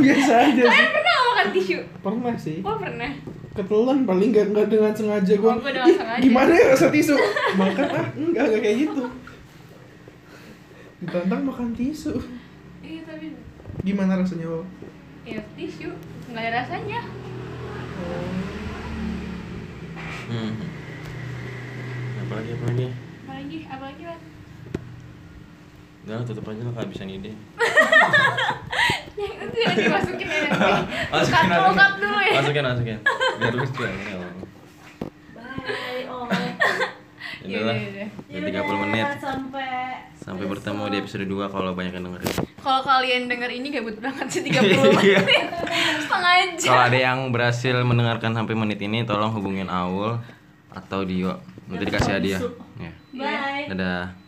[SPEAKER 5] Biasa aja sih.
[SPEAKER 3] Pernah nggak makan tisu?
[SPEAKER 5] Pernah sih.
[SPEAKER 3] Gue pernah
[SPEAKER 5] Ketelan paling nggak nggak dengan sengaja gue.
[SPEAKER 3] Oh, gua dengan sengaja.
[SPEAKER 5] Gimana ya rasa tisu? Makan ah enggak enggak kayak gitu. Ditantang makan tisu.
[SPEAKER 3] Iya tapi
[SPEAKER 5] Gimana rasanya Wow?
[SPEAKER 3] ya tisu nggak ada rasanya
[SPEAKER 2] Hmm. Apalagi apalagi?
[SPEAKER 3] Apalagi, apalagi lah
[SPEAKER 2] Udah lah, tutup aja lah kehabisan ide.
[SPEAKER 3] Yang itu yang dimasukin ya nanti
[SPEAKER 2] Masukin
[SPEAKER 3] Cut,
[SPEAKER 2] masukin.
[SPEAKER 3] cut dulu ya.
[SPEAKER 2] Masukin masukin. Biar lucu ya. ya Allah.
[SPEAKER 6] bye oh
[SPEAKER 2] Ya udah lah.
[SPEAKER 3] Iya, iya,
[SPEAKER 2] Udah 30 menit.
[SPEAKER 6] Iya, sampai
[SPEAKER 2] Sampai bertemu di episode 2 kalau banyak yang dengerin. Iya.
[SPEAKER 3] Kalau kalian denger ini gabut banget sih 30 menit Setengah jam
[SPEAKER 2] Kalau ada yang berhasil mendengarkan sampai menit ini
[SPEAKER 3] Iya.
[SPEAKER 6] Iya.
[SPEAKER 2] tolong hubungin Aul atau Dio. Nanti dikasih hadiah. Ya.
[SPEAKER 6] bye
[SPEAKER 2] Dadah.